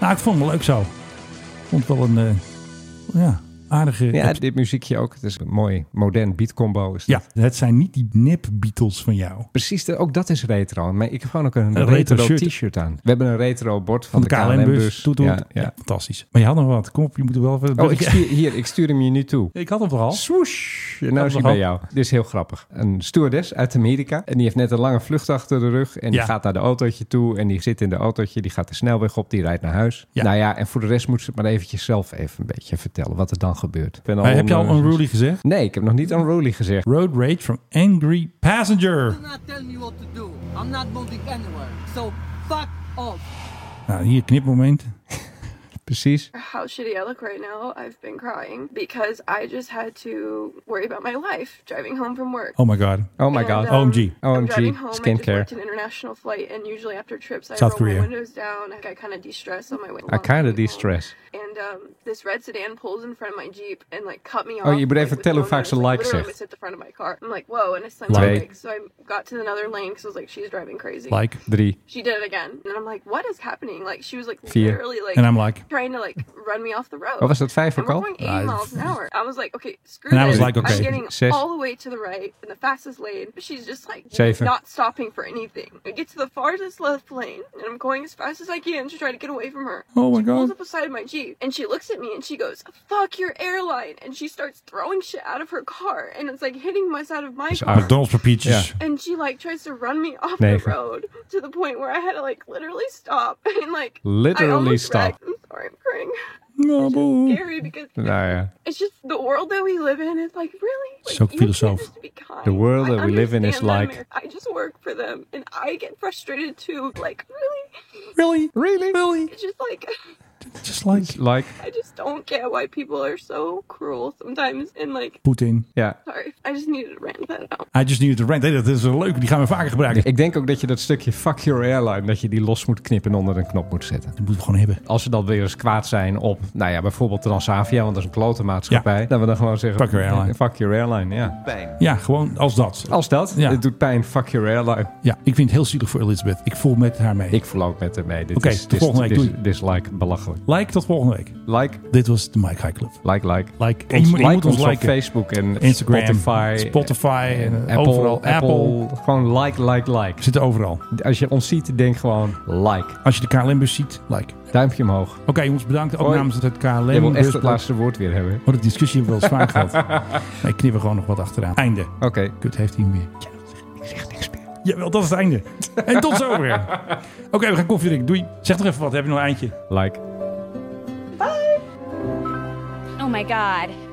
S5: Nou, ik vond het wel leuk zo. Ik vond het wel een, eh, ja, aardige...
S6: Ja, dit muziekje ook. Het is een mooi modern beat combo. Is
S5: Ja, het zijn niet die nip-Beatles van jou.
S6: Precies, de- ook dat is retro. Maar ik heb gewoon ook een,
S5: Een retro
S6: retro,
S5: shirt.
S6: t-shirt aan. We hebben een retro bord van,
S5: Van de KLM-bus.
S6: KLM-bus. Ja, ja.
S5: Fantastisch. Maar je had nog wat. Kom op, je moet er wel even...
S6: Oh, ik stuur, hier, ik stuur hem je nu toe.
S5: Ik had hem vooral.
S6: Swoosh! En
S5: Dat
S6: nou is hij
S5: nogal.
S6: bij jou. Dit is heel grappig. Een stewardess uit Amerika. En die heeft net een lange vlucht achter de rug. En
S5: Ja.
S6: die gaat naar de autootje toe. En die zit in de autootje. Die gaat de snelweg op. Die rijdt naar huis.
S5: Ja.
S6: Nou ja, en voor de rest moet ze het maar eventjes zelf even een beetje vertellen wat er dan gebeurt. Ik ben al
S5: Maar heb je al
S6: onder-
S5: unruly gezegd?
S6: Nee, ik heb nog niet unruly gezegd.
S5: Road rage from angry passenger.
S10: not tell me what to do. I'm not moving anywhere. So fuck off.
S5: Nou, hier knipmoment.
S6: Precies.
S7: How shitty I look right now. I've been crying because I just had to worry about my life driving home from work.
S5: Oh my god.
S6: Oh my
S7: And,
S6: god.
S7: um,
S5: OMG.
S7: I'm
S6: OMG,
S7: driving home. I just
S6: skincare.
S7: worked an international flight, and usually after trips, I
S5: South
S7: roll
S5: Korea.
S7: my windows down. I kind of de-stress on my way.
S6: I
S7: along
S6: kind
S7: the
S6: of
S7: way
S6: de-stress.
S7: home. And um, this red sedan pulls in front of my jeep and like cut me off.
S6: Oh, je moet
S7: like, with
S6: even vertellen
S7: no
S6: hoe vaak ze
S7: notice.
S6: like
S7: literally
S6: zegt.
S7: was at the front of my car. I'm like, whoa, and I slammed
S6: Like.
S7: my brakes. So I got to another lane because I was like, she's driving crazy.
S5: Like.
S6: Drie.
S7: She did it again, and I'm like, what is happening? Like she was like
S6: Fear.
S7: literally like
S5: And I'm like-
S7: trying to like run me off the road.
S6: Oh, was dat
S7: And
S6: vijf ook
S7: we're
S6: al?
S7: going 80
S5: Ah,
S7: miles an hour. I was like, okay, screw
S5: And I
S7: this.
S5: was like, okay.
S7: I'm getting
S6: Zes.
S7: all the way to the right in the fastest lane. But she's just like
S6: Zeven.
S7: not stopping for anything. I get to the farthest left lane, and I'm going as fast as I can to try to get away from her.
S5: Oh my
S7: she pulls up
S5: God.
S7: beside my jeep, and she looks at me, and she goes, "Fuck your airline," and she starts throwing shit out of her car, and it's like hitting my side of my car.
S6: out.
S5: McDonald's voor peaches.
S7: And she like tries to run me off
S6: Negen.
S7: the road to the point where I had to like literally stop and like I
S6: Literally
S7: almost
S6: stop.
S7: wrecked. I'm sorry, I'm crying.
S5: Nou, boe.
S7: Scary because
S6: Nou ja.
S7: it's just the world that we live in. It's like really like,
S5: Zo
S7: you can't
S5: filosoof.
S7: just be kind.
S6: The world
S7: I
S6: that we live in is
S7: understand
S6: like-
S7: them. I just work for them and I get frustrated too. Like really,
S5: Really?
S6: Really? Really?
S7: it's just like
S5: Just like
S6: Like.
S7: I just don't get why people are so cruel sometimes. And like
S5: Poetin.
S6: Ja.
S7: sorry, I just needed to rant that out.
S5: I just needed to rant. Hey, dat is een leuke. Die gaan we vaker gebruiken.
S6: Ik denk ook dat je dat stukje fuck your airline, dat je die los moet knippen en onder een knop moet zetten.
S5: Dat moeten we gewoon hebben.
S6: Als ze dan weer eens kwaad zijn op, nou ja, bijvoorbeeld Transavia, want dat is een klote maatschappij.
S5: Ja.
S6: Dat we dan gewoon zeggen,
S5: Fuck your airline.
S6: Fuck your airline, ja.
S5: Ja, gewoon als dat.
S6: Als dat,
S5: Ja.
S6: het doet pijn, fuck your airline.
S5: Ja, ik vind het heel zielig voor Elizabeth. Ik voel met haar mee.
S6: Ik voel ook met hem mee. Dit
S5: Oké,
S6: is,
S5: tot
S6: dit is-
S5: volgende week.
S6: dit is-
S5: Doei.
S6: dit is like belachelijk.
S5: Like tot volgende week.
S6: Like,
S5: Dit was de Mike High Club.
S6: like, like.
S5: Like,
S6: Ons-
S5: je, moet- je
S6: like
S5: moet ons
S6: op
S5: liken.
S6: Facebook en
S5: Instagram,
S6: Spotify.
S5: Spotify en,
S6: en Apple,
S5: overal. Apple.
S6: Apple. Gewoon like, like,
S5: We
S6: like.
S5: zitten overal.
S6: Als je ons ziet, denk gewoon like.
S5: Als je de KLM-bus ziet, like.
S6: Duimpje omhoog.
S5: Oké, jongens, bedankt. Ook
S6: Hoi.
S5: namens het KLM.
S6: Je wil echt het
S5: Busblad.
S6: laatste woord weer hebben. hè?
S5: Oh, de discussie hebben we wel eens vaak gehad. Maar ik knip er gewoon nog wat achteraan. Einde.
S6: Oké.
S5: Kut, heeft hij meer. Ja, ik zeg niks meer. Jawel, dat is het einde. En tot zover. Oké, we gaan koffie drinken. Doei. Zeg nog even wat. Heb je nog een eindje?
S6: Like.
S4: Oh my god.